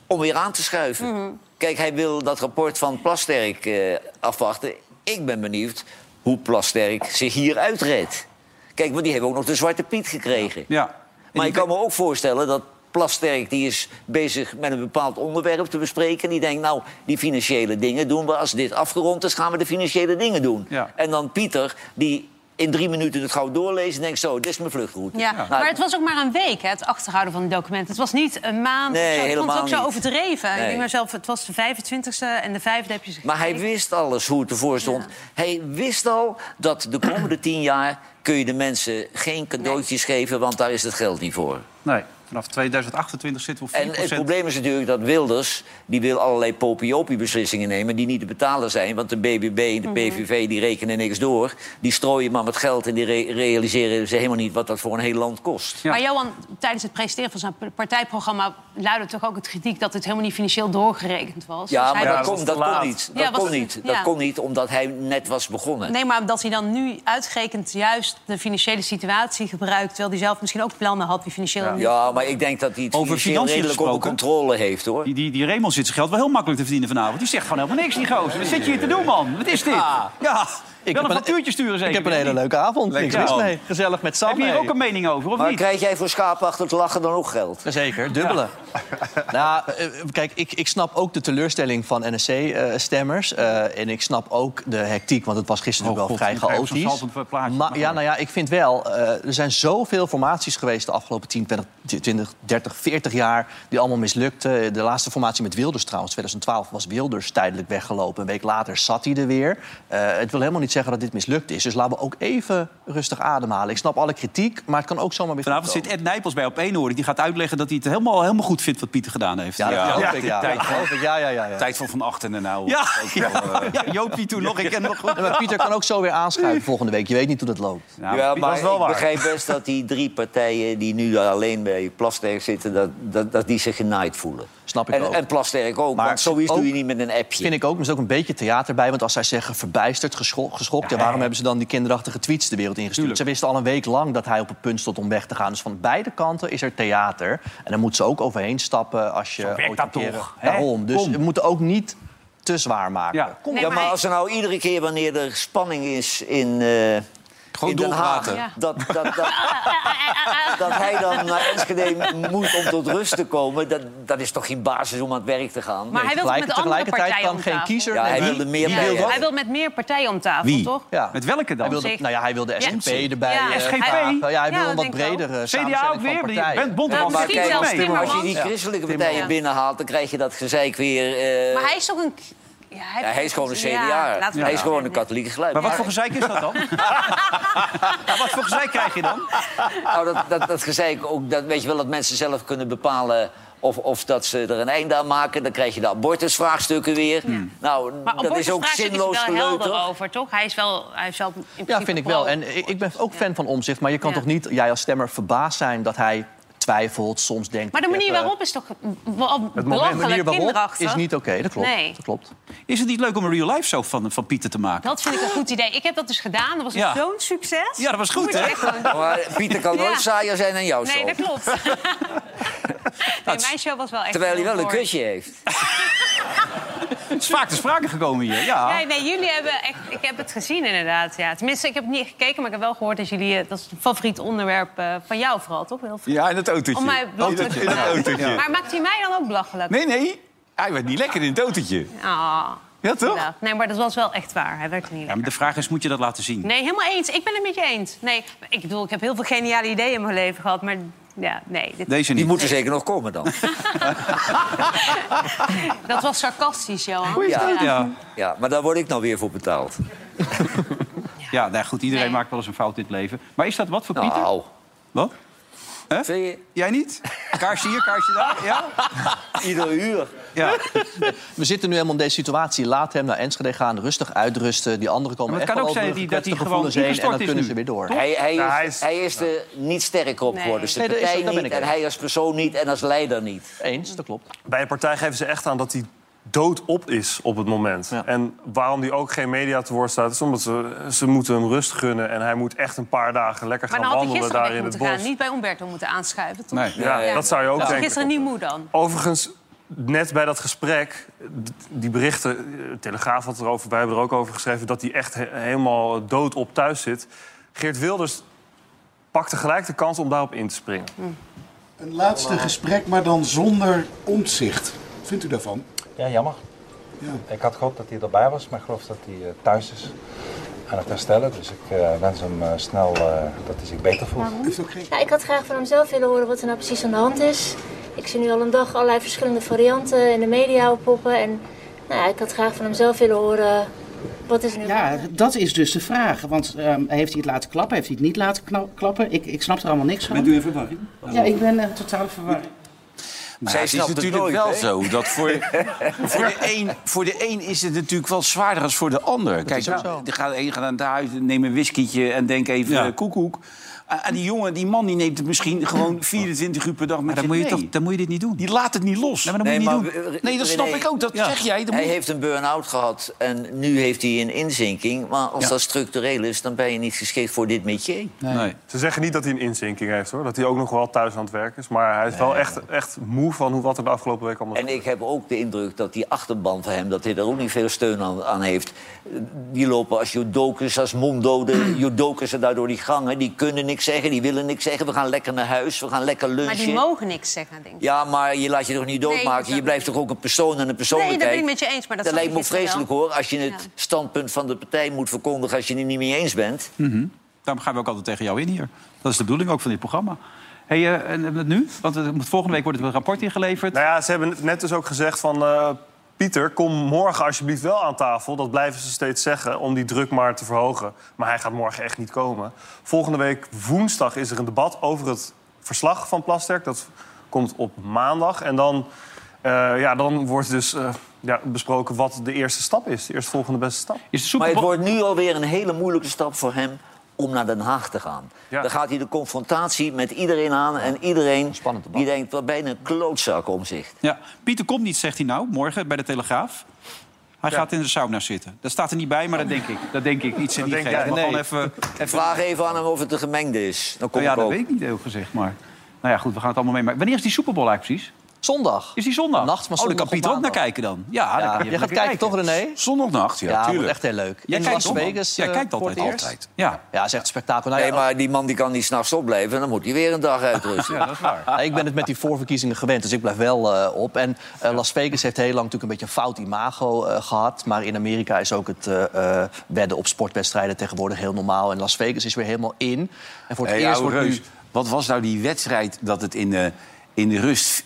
S4: om weer aan te schuiven.
S5: Mhm.
S4: Kijk, hij wil dat rapport van Plasterk eh, afwachten. Ik ben benieuwd hoe Plasterk zich hier uitredt. Kijk, want die hebben ook nog de Zwarte Piet gekregen.
S1: Ja.
S4: Maar ik kan me ook voorstellen dat Plasterk... die is bezig met een bepaald onderwerp te bespreken. Die denkt, nou, die financiële dingen doen we. Als dit afgerond is, gaan we de financiële dingen doen.
S1: Ja.
S4: En dan Pieter, die in drie minuten het gauw doorlezen... denkt, zo, dit is mijn vluchtroute.
S5: Ja.
S4: Nou,
S5: Maar het was ook maar een week, hè, het achterhouden van die documenten. Het was niet een maand.
S4: Nee,
S5: of zo. Ik vond het ook
S4: helemaal
S5: zo
S4: niet.
S5: overdreven. Ik
S4: Nee.
S5: denk maar zelf, het was de 25e en de vijfde heb je ze
S4: Maar hij wist alles hoe het ervoor stond. Hij wist al dat de komende tien jaar kun je de mensen geen cadeautjes geven, want daar is het geld niet voor.
S1: Nee, vanaf 2028 zitten we op 4%.
S4: En het probleem is natuurlijk dat Wilders die wil allerlei popiopi beslissingen nemen die niet te betalen zijn, want de BBB
S5: Mhm.
S4: en de PVV die rekenen niks door, die strooien maar met geld en die re- realiseren ze helemaal niet wat dat voor een heel land kost.
S5: Maar Johan, tijdens het presenteren van zijn p- partijprogramma... luidde toch ook het kritiek dat het helemaal niet financieel doorgerekend was.
S4: Ja,
S5: Dus
S4: maar
S5: hij-
S4: dat, kon, dat kon niet. Dat
S5: Ja, was
S4: kon
S5: het-
S4: niet. Dat
S5: ja.
S4: kon niet omdat hij net was begonnen.
S5: Nee, maar dat hij dan nu uitgerekend juist de financiële situatie gebruikt... terwijl hij zelf misschien ook plannen had die financieel...
S4: Ja,
S5: niet
S4: Ja, maar maar ik denk dat hij het
S1: Over
S4: financieel
S1: financiën
S4: redelijk onder
S1: gesproken.
S4: controle heeft, hoor.
S1: Die, die, die Raymond zit zijn geld wel heel makkelijk te verdienen vanavond. Die zegt gewoon helemaal niks, die gozer. Wat zit je hier te doen, man? Wat is dit? Ja, ik
S2: heb
S1: wel
S2: een-
S1: een factuurtje sturen zeker.
S2: Ik heb een hele leuke avond. Niks mis mee. Gezellig met Sam.
S1: Heb je hier ook een mening over, of
S4: maar
S1: niet?
S4: krijg jij voor schaapachtig lachen dan ook geld?
S2: Zeker, dubbele. Nou, eh, kijk, ik, ik snap ook de teleurstelling van NSC-stemmers. eh, en ik snap ook de hectiek, want het was gisteren natuurlijk wel
S1: Oh, God,
S2: vrij
S1: ik krijg
S2: chaotisch.
S1: zo'n saltend plaatje.
S2: Maar ja, nou ja, ik vind wel, eh, er zijn zoveel formaties geweest de afgelopen 10, 20, 20, 30, 40 jaar die allemaal mislukten. De laatste formatie met Wilders trouwens, 2012, was Wilders tijdelijk weggelopen. Een week later zat hij er weer. Eh, het wil helemaal niet zeggen dat dit mislukt is. Dus laten we ook even rustig ademhalen. Ik snap alle kritiek, maar het kan ook zomaar weer goed
S1: Vanavond
S2: komen.
S1: zit Ed Nijpels bij op één hoor. Die gaat uitleggen dat hij het helemaal, helemaal goed vindt wat Pieter gedaan heeft.
S2: Ja, dat geloof ik,
S1: de
S2: ja.
S1: tijd
S2: Dat
S1: van-
S2: geloof ik, ja, ja, ja, ja.
S3: Tijd van Van Achten en nou.
S1: Ja,
S3: ook wel,
S1: ja,
S3: eh,
S1: ja, Joopie toen nog, ik ken hem nog goed.
S2: Ja, maar Pieter kan ook zo weer aanschuiven volgende week. Je weet niet hoe Nou, dat loopt.
S4: ja, maar ik begrijp best dat die drie partijen die nu alleen bij Plasterk zitten... dat, dat, dat die zich genaaid voelen.
S2: Snap ik
S4: en,
S2: ook.
S4: En Plasterk ook, want zoiets doe je niet met een appje.
S2: Vind ik ook. Er is ook een beetje theater bij. Want als zij zeggen verbijsterd, gescho- geschokt... Ja, waarom hebben ze dan die kinderachtige tweets de wereld ingestuurd? Ze wisten al een week lang dat hij op het punt stond om weg te gaan. Dus van beide kanten is er theater. En daar moeten ze ook overheen stappen als je
S4: werkt
S2: ooit
S4: dat
S2: een keer-
S4: toch, hè?
S2: Daarom. Dus
S4: Kom.
S2: we moeten ook niet te zwaar maken.
S4: Ja,
S2: Kom.
S4: ja, maar als er nou iedere keer wanneer er spanning is in, eh in Den Haag...
S2: doorpraten. Ja.
S4: Dat, dat, dat, dat hij dan naar Enschede moet om tot rust te komen... dat, dat is toch geen basis om aan het werk te gaan?
S5: Maar hij wil toch met andere partijen om tafel?
S4: Ja, hij wilde meer partijen.
S5: Hij wil met meer partijen om tafel, toch?
S2: Ja.
S1: Met welke dan?
S2: Hij wilde, nou ja, hij wilde
S5: Ja.
S2: SGP erbij.
S5: Ja.
S2: eh,
S5: SGP?
S2: vragen. Ja, hij
S5: Ja,
S2: wilde een
S5: dat
S2: wat
S5: denk ik
S2: breder eh,
S4: CDA
S2: samenstelling
S4: ook weer?
S2: van
S4: Je
S2: partijen.
S4: bent bond- Nou,
S5: Nou,
S4: maar
S5: misschien
S4: kijk,
S5: zelfs
S4: als, die- als je
S5: Timmermans.
S4: die
S5: Ja.
S4: christelijke partijen
S5: Ja.
S4: binnenhaalt... dan krijg je dat gezeik weer... eh,
S5: Maar hij is ook een... Ja,
S4: ja, hij is gewoon een CDA.
S5: Ja, laten we
S4: Hij
S5: dat
S4: is gewoon een katholieke geluid.
S1: Maar wat voor gezeik is dat dan? Ja, wat voor gezeik krijg je dan?
S4: Nou, dat, dat, dat gezeik ook, dat weet je wel, dat mensen zelf kunnen bepalen of, of dat ze er een einde aan maken. Dan krijg je de abortusvraagstukken weer.
S2: Hmm.
S4: Nou,
S5: Maar op
S4: dat is ook zinloos
S5: is hij dus wel
S4: geleuter.
S5: helder over, toch? Hij is wel... Hij is wel in
S2: Ja,
S5: principe
S2: vind ik
S5: pro.
S2: wel. En ik ik ben ook fan van omzicht, maar je kan
S5: Ja.
S2: toch niet, jij als stemmer, verbaasd zijn dat hij twijfelt, soms denkt.
S5: Maar de
S2: ik
S5: manier
S2: heb, eh,
S5: waarop is toch wel
S2: het moment- de manier
S5: belachelijk
S2: waarop
S5: kinderachtig?
S2: is niet oké, dat klopt.
S5: Nee.
S2: Dat klopt.
S1: Is het niet leuk om een real life show van, van Pieter te maken?
S5: Dat vind ik een goed idee. Ik heb dat dus gedaan. Dat was
S1: Ja.
S5: zo'n succes.
S1: Ja, dat was goed,
S5: Moet je
S1: hè?
S5: echt gewoon-
S4: Maar Pieter kan nooit
S5: Ja.
S4: saaier zijn dan jouw
S5: Nee,
S4: show.
S5: dat klopt. nee, mijn show was wel echt...
S4: Terwijl hij
S5: heel
S4: wel een
S5: mooi.
S4: kusje heeft.
S1: Het is vaak te sprake gekomen hier. Ja.
S5: Nee, nee, jullie hebben echt... Ik heb het gezien inderdaad, ja. Tenminste, ik heb het niet gekeken, maar ik heb wel gehoord dat jullie... eh, Dat is een favoriet onderwerp eh, van jou vooral, toch? Heel veel.
S17: Ja, in het autootje.
S5: Om mij
S17: in
S5: belachelijk
S17: het,
S5: te
S17: in het
S5: maken.
S17: autootje.
S5: Maar maakt hij mij dan ook belachelijk?
S17: Nee, nee. Hij werd niet lekker in het autootje.
S5: Ah.
S17: Ja, toch?
S5: Nou, Nee, maar dat was wel echt waar. Hij werkte niet
S1: Ja, maar de vraag is, moet je dat laten zien?
S5: Nee, helemaal eens. Ik ben het met je eens. Nee, ik bedoel, ik heb heel veel geniale ideeën in mijn leven gehad, maar ja, nee. Dit...
S1: Deze niet.
S4: Die moeten zeker nog komen dan.
S5: Dat was sarcastisch, Johan.
S4: Ja.
S1: Ja.
S4: Ja, maar daar word ik nou weer voor betaald.
S1: Ja, nou goed, iedereen maakt wel eens een fout in het leven. Maar is dat wat voor Pieter?
S4: Nou.
S1: Wat? Hè? Jij niet? Kaarsje hier, kaarsje daar? Ja?
S4: Ieder uur.
S1: Ja.
S2: We zitten nu helemaal in deze situatie. Laat hem naar Enschede gaan, rustig uitrusten. Die anderen komen
S4: Maar
S2: echt
S4: het kan
S2: wel
S4: ook
S2: over
S4: zijn
S2: hun
S4: dat hij- dat
S2: gekwetste
S4: hij gewoon
S2: gevoelens heen en
S4: ingestort
S2: dan
S4: is
S2: kunnen
S4: nu.
S2: ze weer door.
S4: Hij, hij,
S2: Nou,
S4: is, hij is er niet sterker op
S5: Nee.
S4: geworden. Zijn
S2: Nee, dat is-
S4: partij
S2: daar ben
S4: niet
S2: ik
S4: en
S2: eens.
S4: hij als persoon niet en als leider niet.
S2: Eens, dat klopt.
S6: Bij een partij geven ze echt aan dat die dood op is op het moment. En waarom die ook geen media te woord staat... is omdat ze, ze moeten hem rust gunnen... en hij moet echt een paar dagen lekker
S5: Maar
S6: gaan
S5: dan had hij
S6: wandelen
S5: gisteren
S6: daar
S5: weg
S6: in het
S5: moeten
S6: bos.
S5: gaan. Niet bij Umberto moeten aanschuiven, toch?
S6: Nee. Ja, dat zou je ook
S5: Was hij
S6: denken.
S5: gisteren niet moe dan?
S6: Overigens, net bij dat gesprek, d- die berichten... eh, Telegraaf had erover, wij hebben er ook over geschreven... dat hij echt he- helemaal dood op thuis zit. Geert Wilders pakte gelijk de kans om daarop in te springen.
S18: Een laatste gesprek, maar dan zonder omzicht. Wat vindt u daarvan?
S19: Ja, jammer. Ik had gehoopt dat hij erbij was, maar ik geloof dat hij eh, thuis is aan het herstellen. Dus ik eh, wens hem eh, snel eh, dat hij zich beter voelt.
S20: Ja, ik had graag van hem zelf willen horen wat er nou precies aan de hand is. Ik zie nu al een dag allerlei verschillende varianten in de media oppoppen. En nou ja, ik had graag van hem zelf willen horen wat is er nu
S21: Ja, dat is dus de vraag. Want ehm, heeft hij het laten klappen? Heeft hij het niet laten kna- klappen? Ik, ik snap er allemaal niks van.
S14: Bent u in verwarring?
S21: Ja, ik ben eh, totaal verwarring.
S3: Maar
S21: Zij
S3: ja, het is
S21: snapt het
S3: natuurlijk
S21: nooit,
S3: wel
S21: hè?
S3: zo dat voor, voor, de een, voor de een is het natuurlijk wel zwaarder als voor de ander. Kijk,
S1: is ook
S3: de gaat- de een gaat naar huis, neemt een whiskietje en denkt even
S1: Ja.
S3: eh, koekoek.
S17: En die jongen, die man, die neemt het misschien gewoon 24 uur per dag met
S1: dan
S17: zich
S1: moet je
S17: mee.
S1: toch- dan moet je dit niet doen.
S17: Die laat het niet los.
S1: Nee, maar dat moet je niet
S4: maar,
S1: doen.
S4: eh,
S17: Nee, dat snap
S4: René,
S17: ik ook. Dat
S4: ja.
S17: zeg jij. Dat
S4: Hij
S17: moet-
S4: heeft een burn-out gehad en nu heeft hij een inzinking. Maar als
S6: Ja.
S4: dat structureel is, dan ben je niet geschikt voor dit métier.
S6: Ze zeggen niet dat hij een inzinking heeft, hoor. Dat hij ook nog wel thuis aan het werk is. Maar hij is wel echt, echt moe van hoe wat er de afgelopen week allemaal...
S4: En ik heb ook de indruk dat die achterban van hem... dat hij daar ook niet veel steun aan, aan heeft. Die lopen als judokus, als monddoden, judokus en daardoor die gangen. Die kunnen niks zeggen, die willen niks zeggen. We gaan lekker naar huis, we gaan lekker
S5: Maar
S4: lunchen.
S5: die mogen niks zeggen, denk ik.
S4: Ja, maar je laat je toch niet
S5: Nee,
S4: doodmaken?
S5: dat snap
S4: je blijft toch ook een persoon en een persoonlijkheid?
S5: Nee, dat ben ik met je eens, maar dat
S4: dat
S5: snap
S4: lijkt me
S5: ik
S4: ook
S5: gisteren
S4: vreselijk,
S5: wel.
S4: hoor. Als je het standpunt van de partij moet verkondigen als je het niet mee eens bent.
S1: Mhm. Daarom gaan we ook altijd tegen jou in hier. Dat is de bedoeling ook van dit programma. Hey, eh, en het nu? Want eh, volgende week wordt het een rapport ingeleverd.
S6: Nou ja, ze hebben net dus ook gezegd van... eh, Pieter, kom morgen alsjeblieft wel aan tafel. Dat blijven ze steeds zeggen, om die druk maar te verhogen. Maar hij gaat morgen echt niet komen. Volgende week woensdag is er een debat over het verslag van Plasterk. Dat komt op maandag. En dan, eh, ja, dan wordt dus eh, ja, besproken wat de eerste stap is. De eerstvolgende beste stap.
S4: Maar het wordt nu alweer een hele moeilijke stap voor hem om naar Den Haag te gaan. Dan gaat hij de confrontatie met iedereen aan. En iedereen die denkt, wat bijna een klootzak om zich.
S1: Ja. Pieter komt niet, zegt hij nou, morgen bij de Telegraaf. Hij gaat in de sauna zitten. Dat staat er niet bij, maar dat denk ik. Dat denk ik. Iets in die geest. Maar gewoon even... even...
S4: Vraag even aan hem of het een gemengde is. Dan kom
S1: Nou ja, dat
S4: ik ook.
S1: weet ik niet heel gezegd, maar... Nou ja, goed, we gaan het allemaal meemaken. Wanneer is die Super Bowl eigenlijk precies?
S2: Zondag.
S1: Is die zondag?
S2: Nacht,
S1: oh, dan
S2: maar zondag
S1: kan
S2: op
S1: Pieter ook naar
S2: maandag.
S1: kijken dan. Ja, dan
S2: Ja,
S1: kan je
S2: jij gaat
S1: lekker
S2: kijken, toch, René?
S17: Zondagnacht,
S2: ja, wordt echt heel leuk.
S1: Jij
S2: In
S1: kijkt
S2: Las
S1: zondag?
S2: Vegas,
S1: Jij
S2: eh,
S1: kijkt
S2: voor het
S1: altijd.
S2: eerst.
S1: Ja.
S2: Ja, is echt een spektakel. Nou,
S4: Nee,
S2: ja,
S4: maar die man die kan niet s'nachts opblijven. Dan moet hij weer een dag uitrusten.
S1: Ja, dat is waar.
S2: Nou, ik ben het met die voorverkiezingen gewend, dus ik blijf wel eh, op. En eh, Las Vegas heeft heel lang natuurlijk een beetje een fout imago eh, gehad. Maar in Amerika is ook het eh, eh, wedden op sportwedstrijden tegenwoordig heel normaal. En Las Vegas is weer helemaal in. En voor het
S17: Hey,
S2: eerst
S17: ouwe
S2: wordt
S17: Reus,
S2: nu...
S17: wat was nou die wedstrijd dat het in de, in de rust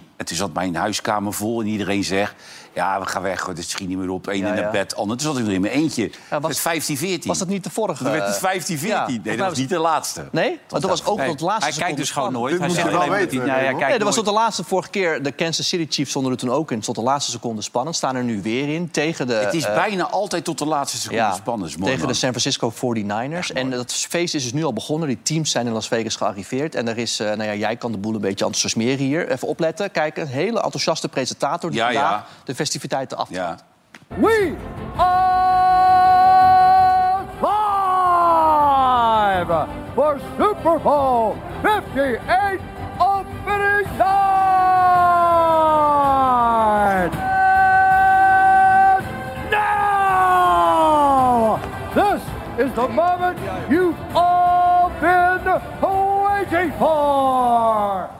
S17: 14-3... En toen zat mijn huiskamer vol en iedereen zegt... ja, we gaan weg, hoor, dit schiet niet meer op. Eén
S2: Ja,
S17: in
S2: ja.
S17: het bed, ander. Toen zat ik er in mijn eentje.
S2: was-
S17: het 15-14.
S2: Was dat niet de vorige? eh,
S17: Toen werd het 15-14.
S2: Ja,
S17: nee,
S2: volgens
S17: dat
S2: mij
S17: was niet de laatste.
S2: Nee, maar dat was ook
S17: Nee.
S2: tot de laatste
S17: Hij kijkt
S2: seconde
S17: dus gewoon
S2: spannend.
S17: nooit. Hij zegt alleen maar dat hij... Nou, ja,
S2: Nee,
S17: kijkt
S2: dat was tot
S17: nooit.
S2: de laatste vorige keer. De Kansas City Chiefs stonden er toen ook in. Tot de laatste seconde spannend. Staan er nu weer in. Tegen de,
S17: Het is
S2: eh,
S17: bijna altijd tot de laatste seconde spannend. Is mooi,
S2: tegen de
S17: man.
S2: San Francisco 49ers. en dat feest is dus nu al begonnen. Die teams zijn in Las Vegas gearriveerd. En er is, eh, nou ja, jij kan de boel een beetje enthousiasmeren hier. Even opletten. Kijk, een hele enthousiaste presentator die
S17: Ja,
S2: vandaag
S17: ja.
S2: de festiviteiten aftrapt.
S15: We are live for Super Bowl 58 opening night. And now, this is the moment you've all been waiting for.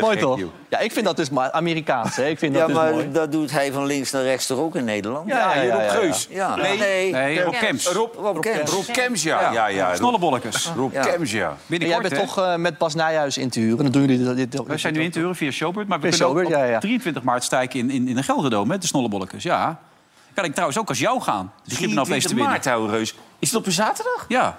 S2: Mooi toch? Ja, ik vind dat dus maar Amerikaans. Hè? Ik vind
S4: Ja,
S2: dat dus
S4: maar
S2: mooi.
S4: dat doet hij van links naar rechts toch ook in Nederland?
S2: Ja, ja, ja, ja, ja.
S4: Ja.
S17: Nee, nee, Rob Kemps.
S4: Rob, Rob Kemps.
S17: Rob Kems, ja. ja. ja, Rob-
S1: Snollebollekes.
S17: Rob
S1: Ja.
S17: Kems, ja.
S2: En jij
S1: Binnenkort,
S2: bent
S1: hè?
S2: toch eh, met Bas Nijhuis in te huren. Dan doen jullie dit, dit,
S1: We zijn nu in te huren via Showbird, maar we
S2: Via
S1: kunnen ook
S2: Showbird,
S1: op
S2: ja, ja.
S1: 23 maart stijken in, in, in de Gelderdoom met de snollebollekes. Ja. Kan ik trouwens ook als jou gaan. Dus ik heb nou feest
S17: 23
S1: te winnen.
S17: maart, ouwe Reus. Is het op een zaterdag?
S1: Ja.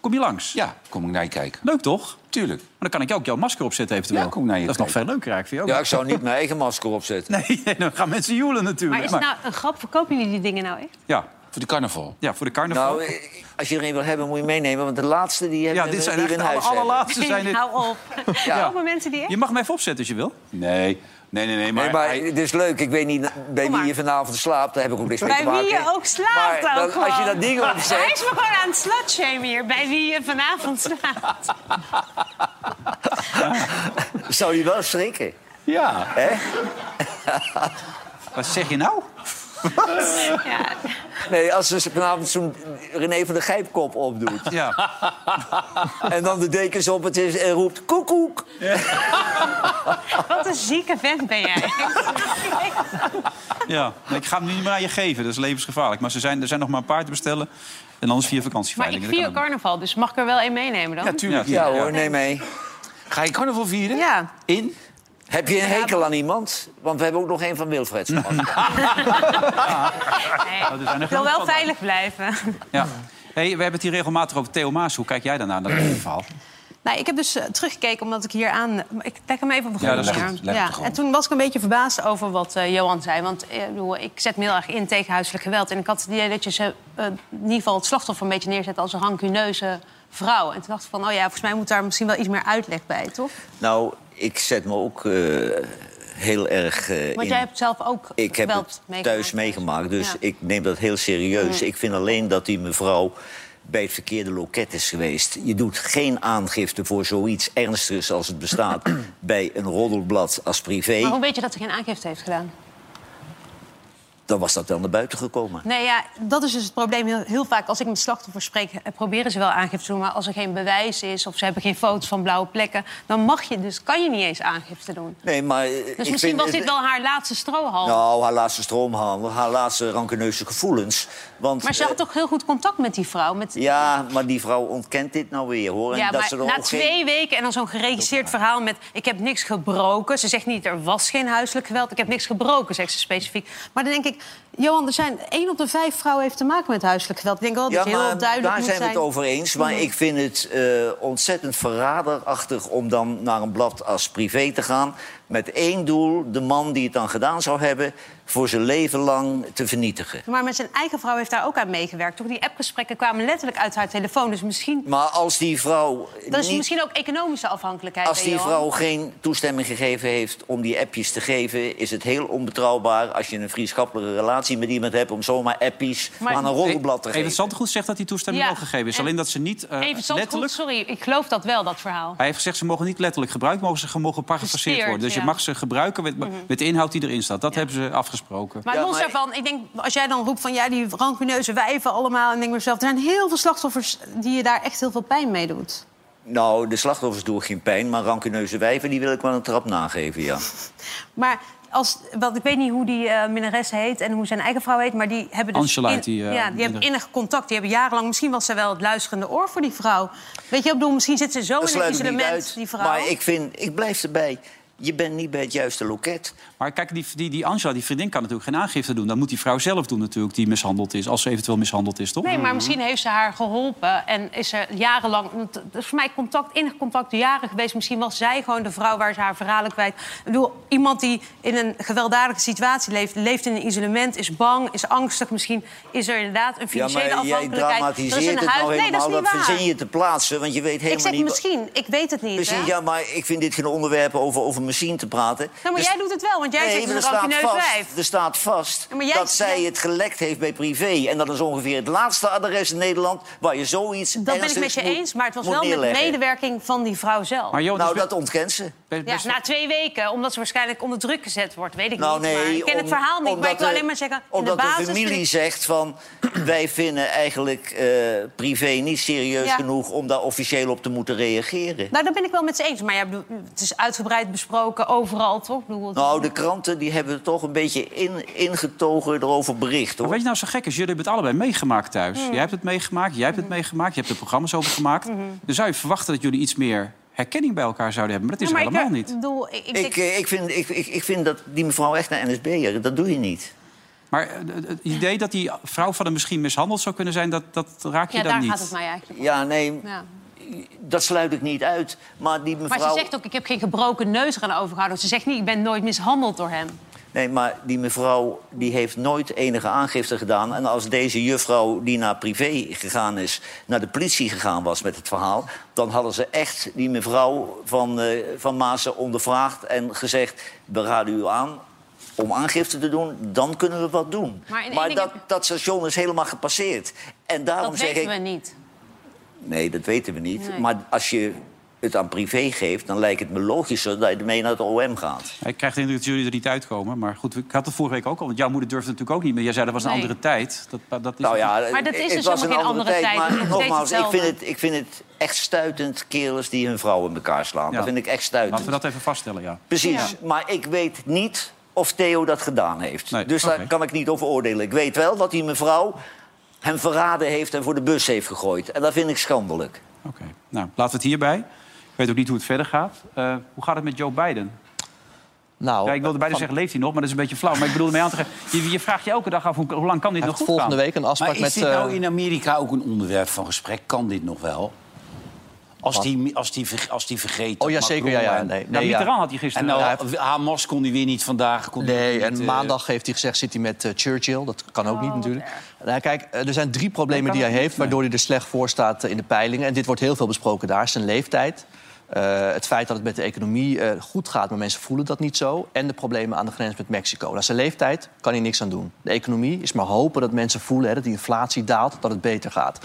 S1: Kom je langs?
S17: Ja, kom ik naar je kijken.
S1: Leuk toch?
S17: Tuurlijk.
S1: Maar dan kan ik ook jouw masker opzetten eventueel.
S17: Ja, kom naar je
S1: Dat is nog veel leuker eigenlijk voor jou.
S4: Ja, ik zou niet mijn eigen masker opzetten.
S1: Nee, nee, dan gaan mensen joelen
S5: Maar
S1: natuurlijk.
S5: is het nou een grap? Verkopen jullie die dingen nou echt?
S1: Ja.
S17: Voor de carnaval.
S1: Ja, voor de carnaval.
S4: Nou, eh, als je er een wil hebben, moet je meenemen. Want de laatste die hebben
S1: ja, dit zijn
S4: die
S1: echt
S4: we in
S1: de
S4: huis
S1: aller-
S4: hebben.
S1: allerlaatste zijn dit.
S5: Hou Nou, op.
S4: Ja.
S5: Kopen mensen die echt?
S1: Je mag hem even opzetten als je wil.
S17: Nee, nee, nee. nee maar
S4: Nee, maar
S17: hij-
S4: het is leuk. Ik weet niet bij wie je vanavond slaapt. Daar heb ik ook niks mee te
S5: Bij
S4: maken.
S5: wie je ook slaapt
S4: Maar dan-
S5: ook gewoon.
S4: als je dat ding opzet-
S5: Hij is me gewoon aan het slutshamen hier. Bij wie je vanavond slaapt.
S4: Zou je wel schrikken?
S17: Ja.
S1: Wat zeg je nou?
S5: Ja.
S4: Nee, als ze vanavond zo'n René van de Gijpkop opdoet.
S1: Ja.
S4: En dan de dekens op het is en roept koekoek.
S5: Wat een zieke vent ben jij.
S1: Ja. Nee, ik ga hem nu niet meer aan je geven. Dat is levensgevaarlijk. Maar ze zijn, er zijn nog maar een paar te bestellen. En anders via
S5: Maar ik
S1: vakantieveilingen.
S5: vier carnaval, dus mag ik er wel één meenemen dan?
S1: tuurlijk.
S4: Ja hoor, neem mee.
S17: Ga je carnaval vieren?
S5: Ja.
S17: In?
S4: Heb je een hekel aan iemand? Want we hebben ook nog een van Wilfred.
S5: Nee.
S1: Oh, er zijn er
S5: Ik wil
S1: genoeg
S5: wel
S1: van.
S5: veilig blijven.
S1: Ja. Hey, we hebben het hier regelmatig over Theo Maas. Hoe kijk jij daarna naar dit verhaal?
S5: Nou, ik heb dus eh, teruggekeken omdat ik hier aan... Ik leg hem even op de
S3: Ja,
S5: grond
S3: dat is
S5: neer.
S3: goed. Leg het gewoon.
S5: En toen was ik een beetje verbaasd over wat eh, Johan zei. Want eh, ik bedoel, ik zet me heel erg in tegen huiselijk geweld. En ik had het idee dat je ze, eh, in ieder geval het slachtoffer een beetje neerzet... als een rancuneuze vrouw. En toen dacht ik van, oh ja, volgens mij moet daar misschien wel iets meer uitleg bij, toch?
S4: Nou, ik zet me ook eh, heel erg eh,
S5: Want
S4: in.
S5: jij hebt zelf ook
S4: Ik heb
S5: geweld
S4: het
S5: meegemaakt.
S4: thuis meegemaakt, dus
S5: Ja.
S4: ik neem dat heel serieus.
S5: Mm.
S4: Ik vind alleen dat die mevrouw bij het verkeerde loket is geweest. Je doet geen aangifte voor zoiets ernstigs als het bestaat... bij een roddelblad als privé.
S5: Maar hoe weet je dat ze geen aangifte heeft gedaan?
S4: Dan was dat wel naar buiten gekomen.
S5: Nee, ja, dat is dus het probleem. Heel, heel vaak als ik met slachtoffers spreek, eh, proberen ze wel aangifte te doen. Maar als er geen bewijs is of ze hebben geen foto's van blauwe plekken... dan mag je dus, kan je niet eens aangifte doen.
S4: Nee, maar... eh,
S5: Dus
S4: ik
S5: misschien
S4: vind-
S5: was dit wel haar laatste strohalm.
S4: Nou, haar laatste stroomhandel, haar laatste rankeneuze gevoelens. Want,
S5: maar ze had toch heel goed contact met die vrouw? Met...
S4: eh, Ja, maar die vrouw ontkent dit nou weer, hoor. En
S5: Ja,
S4: dat
S5: maar
S4: ze er
S5: na
S4: ook geen-
S5: twee weken en dan zo'n geregisseerd verhaal met... ik heb niks gebroken. Ze zegt niet, er was geen huiselijk geweld. Ik heb niks gebroken, zegt ze specifiek. Maar dan denk ik, Johan, er zijn één op de vijf vrouwen heeft te maken met huiselijk geweld. Ik denk wel dat het heel duidelijk
S4: daar
S5: moet
S4: zijn we het
S5: zijn.
S4: over eens. Maar
S5: Mhm.
S4: ik vind het eh, ontzettend verraderachtig om dan naar een blad als privé te gaan. Met één doel, de man die het dan gedaan zou hebben, voor zijn leven lang te vernietigen.
S5: Maar met zijn eigen vrouw heeft daar ook aan meegewerkt. Toch? Die appgesprekken kwamen letterlijk uit haar telefoon. Dus misschien,
S4: Maar als die vrouw,
S5: dat is
S4: niet,
S5: misschien ook economische afhankelijkheid.
S4: als
S5: hè,
S4: die
S5: Johan?
S4: vrouw geen toestemming gegeven heeft om die appjes te geven, is het heel onbetrouwbaar als je een vriendschappelijke relatie met iemand hebt om zomaar appjes
S5: Maar-
S4: aan een roddelblad te
S1: Even
S4: geven.
S1: Zandgoed zegt dat die toestemming
S5: Ja,
S1: ook gegeven is.
S5: en-
S1: Alleen dat ze niet eh,
S5: Even
S1: letterlijk...
S5: Zandgoed, sorry, ik geloof dat wel, dat verhaal.
S1: Hij heeft gezegd, ze mogen niet letterlijk gebruikt, mogen ze ge- mogen parafraseerd
S5: Gesteerd,
S1: worden. Dus
S5: ja. Mhm.
S1: je mag ze gebruiken met, met de inhoud die erin staat. Dat hebben ze afgesproken.
S5: Maar los daarvan, ik denk, als jij dan roept van ja, die rancuneuze wijven allemaal... en ik denk mezelf, er zijn heel veel slachtoffers die je daar echt heel veel pijn mee doet.
S4: Nou, de slachtoffers doen geen pijn, maar rancuneuze wijven die wil ik wel een trap nageven, ja.
S5: Maar als, want ik weet niet hoe die eh minnares heet en hoe zijn eigen vrouw heet... maar die hebben dus
S1: Angela
S5: in-
S1: heet die, eh,
S5: ja, die hebben
S1: minnares.
S5: innig contact. Die hebben jarenlang... Misschien was ze wel het luisterende oor voor die vrouw. Weet je, ik bedoel, misschien zit ze zo
S4: Dat
S5: in een
S4: sluit ik niet
S5: isolement,
S4: uit.
S5: die vrouw.
S4: Maar ik vind, ik blijf erbij. Je bent niet bij het juiste loket.
S1: Maar kijk, die, die, die Angela, die vriendin, kan natuurlijk geen aangifte doen. Dat moet die vrouw Nou, zelf doen natuurlijk, die mishandeld is. Als ze eventueel mishandeld is, toch?
S5: Nee,
S4: Mhm.
S5: maar misschien heeft ze haar geholpen en is er jarenlang... want Het is voor mij contact, innig contact jaren geweest. Misschien was zij gewoon de vrouw waar ze haar verhalen kwijt. Ik bedoel, iemand die in een gewelddadige situatie leeft... leeft in een isolement, is bang, is angstig. Misschien is er inderdaad een financiële
S4: ja, maar jij
S5: afhankelijkheid. Er is
S4: dramatiseert
S5: een
S4: het
S5: huis-
S4: nou
S5: Nee, dat
S4: helemaal.
S5: is niet waar.
S4: verzin je te plaatsen, want je weet helemaal
S5: ik zeg
S4: niet... wat-
S5: misschien, ik weet het niet. hè?
S4: Precies, ja, maar ik vind dit geen onderwerp over, over machine te praten.
S5: Nou, maar
S4: Dus-
S5: jij doet het wel, want jij
S4: Nee,
S5: zit in
S4: maar
S5: een
S4: er staat
S5: rancuneus
S4: vast-
S5: wijf.
S4: Er staat vast
S5: Ja, maar jij-
S4: dat zij
S5: jij-
S4: het gelekt heeft bij privé. En dat is ongeveer het laatste adres in Nederland waar je zoiets
S5: Dat ben ik met je eens, maar het was wel met medewerking van die vrouw zelf.
S4: nou,
S1: dus
S4: dat ontkent ze.
S5: Ja, na twee weken, omdat ze waarschijnlijk onder druk gezet wordt, weet ik
S4: Nou,
S5: niet.
S4: nee,
S5: maar ik ken het
S4: om-
S5: verhaal niet, maar
S4: omdat
S5: ik wil
S4: de-
S5: alleen maar zeggen... in
S4: Omdat
S5: de,
S4: de,
S5: basis vind
S4: familie
S5: ik-
S4: zegt van... wij vinden eigenlijk eh, privé niet serieus
S5: Ja.
S4: genoeg... om daar officieel op te moeten reageren.
S5: Nou, daar ben ik wel met ze eens. Maar ja, ik bedoel, het is uitgebreid besproken overal, toch? Ik bedoel, het-
S4: Nou, de kranten die hebben er toch een beetje in, ingetogen erover bericht,
S1: Maar
S4: hoor.
S1: weet je nou zo gek is? Jullie hebben het allebei meegemaakt thuis.
S5: Mm. Mm-hmm.
S1: Jij hebt het meegemaakt, jij hebt het meegemaakt. Je hebt er programma's over gemaakt.
S5: Mhm.
S1: Dan zou je verwachten dat jullie iets meer herkenning bij elkaar zouden hebben. Maar dat is
S5: Ja, maar ik-
S1: helemaal niet.
S5: Ik, eh, bedoel, ik, ik,
S4: Ik, eh, ik, vind, ik, ik, ik vind dat die mevrouw echt een NSB'er, dat doe je niet.
S1: Maar eh, het idee dat die vrouw van hem misschien mishandeld zou kunnen zijn... dat, dat raak je
S5: ja,
S1: dan
S5: daar
S1: niet.
S5: gaat het mij eigenlijk om.
S4: Ja, nee,
S5: Ja.
S4: dat sluit ik niet uit. Maar die
S5: Maar
S4: mevrouw...
S5: ze zegt ook, ik heb geen gebroken neus eraan overgehouden. Ze zegt niet, ik ben nooit mishandeld door hem.
S4: Nee, maar die mevrouw die heeft nooit enige aangifte gedaan. En als deze juffrouw die naar privé gegaan is... naar de politie gegaan was met het verhaal... dan hadden ze echt die mevrouw van, eh van Maassen ondervraagd... en gezegd, we raden u aan om aangifte te doen. Dan kunnen we wat doen.
S5: Maar in
S4: Maar,
S5: één ding
S4: dat, dat station is helemaal gepasseerd. En daarom
S5: Dat
S4: zeg
S5: weten
S4: ik...
S5: we niet.
S4: Nee, dat weten we niet.
S5: Nee.
S4: Maar als je het aan privé geeft... dan lijkt het me logischer dat je ermee naar het OM gaat.
S1: Ik krijg de indruk dat jullie er niet uitkomen. Maar goed, ik had het vorige week ook al. Want jouw moeder durfde natuurlijk ook niet meer. Jij zei, dat was een
S5: Nee.
S1: andere tijd. Dat, dat- dat is
S4: Nou ja,
S5: Maar dat is
S4: het
S5: dus
S4: was
S5: helemaal
S4: een
S5: geen andere tijd. Het is
S4: Maar
S5: nog steeds
S4: nogmaals, ik vind,
S5: hetzelfde.
S4: het, ik vind het echt stuitend kerels die hun vrouw in elkaar slaan. Dat vind ik echt stuitend.
S1: Laten we dat even vaststellen, ja.
S4: Precies, maar ik weet niet of Theo dat gedaan heeft. dus daar kan ik niet over oordelen. Ik weet wel dat die mevrouw hem verraden heeft en voor de bus heeft gegooid. En dat vind ik schandelijk.
S1: Nou, laten we het hierbij. Ik weet ook niet hoe het verder gaat. Eh, hoe gaat het met Joe Biden?
S2: Nou,
S1: ja, ik wilde bijna
S2: van-
S1: zeggen, leeft hij nog? Maar dat is een beetje flauw. Maar ik bedoelde mij aan te geven, je, je vraagt je elke dag af hoe, hoe lang kan dit
S2: Hij
S1: nog goed
S2: heeft volgende
S1: gaan?
S3: nou
S2: week een afspraak eh,
S1: Maar is
S2: met...
S1: dit nou
S2: eh,
S3: in Amerika ook een onderwerp van gesprek? Kan dit nog wel? Als die, als, die, ver- als die vergeten.
S2: Oh ja,
S3: Macron
S2: zeker, ja, ja,
S3: en-
S2: nee,
S1: Nou,
S2: nee, Ja, Mitterrand ja. had hij gisteren.
S3: En
S2: Ja,
S3: nou,
S2: hij
S3: Hamas kon hij weer niet vandaag. Kon die
S2: Nee,
S3: weer niet,
S2: en
S3: eh,
S2: maandag heeft hij gezegd, zit hij met eh, Churchill. Dat kan ook niet natuurlijk. Nou, kijk, eh, er zijn drie problemen die hij heeft... waardoor hij er slecht voor staat eh, in de peilingen. En dit wordt heel veel besproken daar. Zijn leeftijd. eh, het feit dat het met de economie eh, goed gaat, maar mensen voelen dat niet zo. En de problemen aan de grens met Mexico. Nou, zijn leeftijd kan hij niks aan doen. De economie is maar hopen dat mensen voelen hè, dat die inflatie daalt, dat het beter gaat.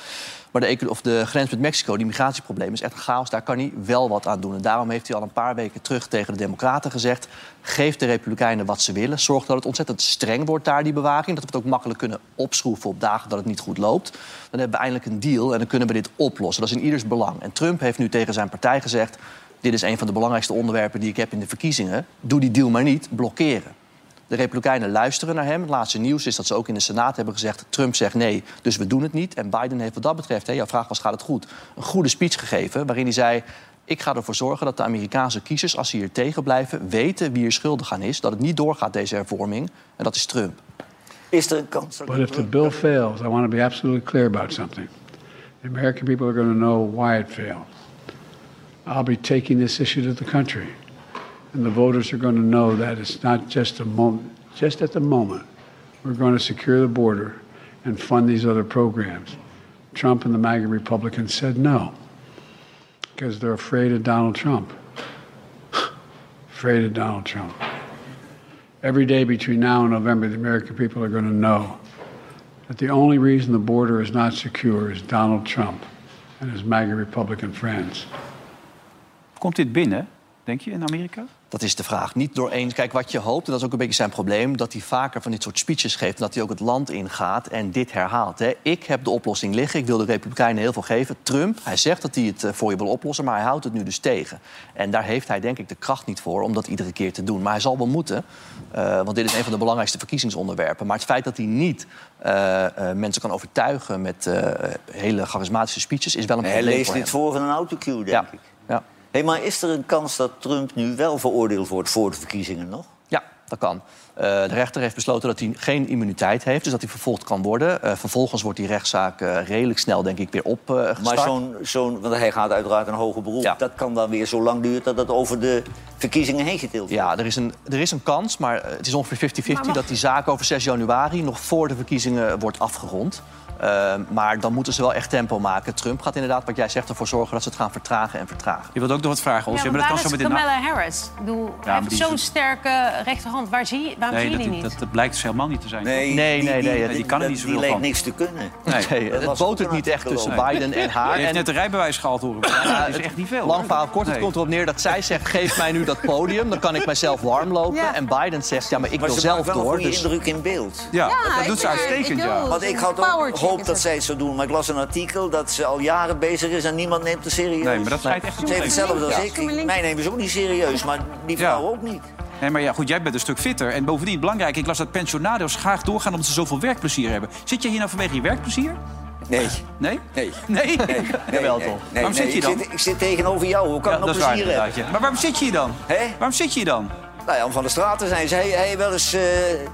S2: Maar de, eco- of de grens met Mexico, die migratieprobleem, is echt een chaos. Daar kan hij wel wat aan doen. En daarom heeft hij al een paar weken terug tegen de Democraten gezegd... geef de Republikeinen wat ze willen. Zorg dat het ontzettend streng wordt daar, die bewaking. Dat we het ook makkelijk kunnen opschroeven op dagen dat het niet goed loopt. Dan hebben we eindelijk een deal en dan kunnen we dit oplossen. Dat is in ieders belang. En Trump heeft nu tegen zijn partij gezegd... dit is een van de belangrijkste onderwerpen die ik heb in de verkiezingen. Doe die deal maar niet, blokkeren. De Republikeinen luisteren naar hem. Het laatste nieuws is dat ze ook in de Senaat hebben gezegd... Trump zegt nee, dus we doen het niet. En Biden heeft wat dat betreft, hè, jouw vraag was gaat het goed... een goede speech gegeven waarin hij zei... ik ga ervoor zorgen dat de Amerikaanse kiezers, als ze hier tegen blijven... weten wie er schuldig aan is, dat het niet doorgaat, deze hervorming. En dat is Trump.
S4: Is er een kans dat
S14: But if the bill fails, I want to be absolutely clear about something. The American people are going to know why it failed. I'll be taking this issue to the country, and the voters are going to know that it's not just a moment. Just at the moment, we're going to secure the border and fund these other programs. Trump and the MAGA Republicans said no because they're afraid of Donald Trump. afraid of Donald Trump. Every day between now and November, the American people are going to know that the only reason the border is not secure is Donald Trump and his MAGA Republican friends.
S1: Komt dit binnen, denk je, in Amerika?
S2: Dat is de vraag. Niet door één. Kijk, wat je hoopt, en dat is ook een beetje zijn probleem... dat hij vaker van dit soort speeches geeft... en dat hij ook het land ingaat en dit herhaalt. Hè. Ik heb de oplossing liggen. Ik wil de Republikeinen heel veel geven. Trump, hij zegt dat hij het eh, voor je wil oplossen... maar hij houdt het nu dus tegen. En daar heeft hij denk ik de kracht niet voor om dat iedere keer te doen. Maar hij zal wel moeten, eh, want dit is een van de belangrijkste verkiezingsonderwerpen. Maar het feit dat hij niet eh, eh, mensen kan overtuigen... met eh, hele charismatische speeches, is wel een
S4: Hij
S2: probleem
S4: leest
S2: voor
S4: dit
S2: hem.
S4: voor van een autocue, denk ik.
S2: Ja.
S4: Hey, maar is er een kans dat Trump nu wel veroordeeld wordt voor de verkiezingen nog?
S2: Ja, dat kan. Eh, de rechter heeft besloten dat hij geen immuniteit heeft, dus dat hij vervolgd kan worden. Eh, vervolgens wordt die rechtszaak eh, redelijk snel, denk ik, weer eh, opgestart.
S4: Maar zo'n, zo'n, want hij gaat uiteraard een hoger beroep. Dat kan dan weer zo lang duren dat het over de verkiezingen heen getild wordt.
S2: Ja, er is, een, er is een kans, maar eh, het is ongeveer 50-50
S4: Maar mag-
S2: dat die zaak over 6 januari nog voor de verkiezingen wordt afgerond. Eh, maar dan moeten ze wel echt tempo maken. Trump gaat inderdaad, wat jij zegt, ervoor zorgen dat ze het gaan vertragen en vertragen.
S1: Je wilt ook nog wat vragen,
S5: Ja,
S1: Olsje,
S5: maar
S1: maar dat
S5: waar
S1: kan
S5: is
S1: zo meteen... na-
S5: Kamala Harris? Ik bedoel, hij
S1: maar
S5: heeft
S1: die is-
S5: zo'n sterke rechterhand. Waar zie, je- waarom
S1: Nee,
S5: zie je
S1: dat,
S5: die
S1: die-
S5: niet?
S1: dat, dat blijkt dus helemaal niet te zijn.
S4: Nee, die- die-
S1: die,
S4: die-
S1: kan er
S4: dat-
S1: niet
S4: die
S1: zoveel
S4: leek
S1: van.
S4: niks te kunnen.
S1: Nee,
S2: Nee,
S1: dat
S2: het
S1: was
S2: botert niet echt tussen Biden en haar.
S1: Je heeft
S2: En-
S1: net een rijbewijs gehaald, horen we.
S2: Ja,
S1: dat is echt niet veel.
S2: Lang
S1: hoor.
S2: verhaal kort, het
S1: Nee.
S2: komt erop neer dat zij zegt... geef mij nu dat podium, dan kan ik mijzelf warm lopen. En Biden zegt, ja, maar ik
S4: maar
S2: wil
S4: ze
S2: zelf
S4: maakt wel een
S2: door.
S4: goede
S2: Dus...
S4: indruk in beeld.
S1: Ja, Ja, dat doet ik- ze uitstekend, ik ja. bedoel,
S4: Want ik
S1: ze
S4: had
S1: is power
S4: ook
S1: chick,
S4: hoop
S1: is
S4: dat
S1: het.
S4: zij het zou doen. Maar ik las een artikel dat ze al jaren bezig is en niemand neemt het serieus.
S1: Nee, maar dat schijnt echt een
S4: Ze heeft
S1: probleem te
S4: hetzelfde
S1: zijn.
S4: als ik. Ik- Mij nemen ze ook niet serieus, maar die vrouw ook niet.
S1: Nee, maar ja, goed, jij bent een stuk fitter. En bovendien, belangrijk, ik las dat pensionado's graag doorgaan... omdat ze zoveel werkplezier hebben. Zit je hier nou vanwege je werkplezier?
S4: Nee.
S1: Nee?
S4: Nee.
S1: Nee?
S4: Jawel,
S1: nee.
S4: toch?
S1: Waarom zit je dan?
S4: Ik zit, ik zit tegenover jou. Hoe kan
S1: Ja,
S4: ik nog
S1: dat is waar,
S4: plezier hebben?
S1: inderdaad, ja. Maar waarom zit je hier dan? Waarom zit je hier dan?
S4: Nou ja, om van de straat te zijn. Ze hij, hij wel eens eh,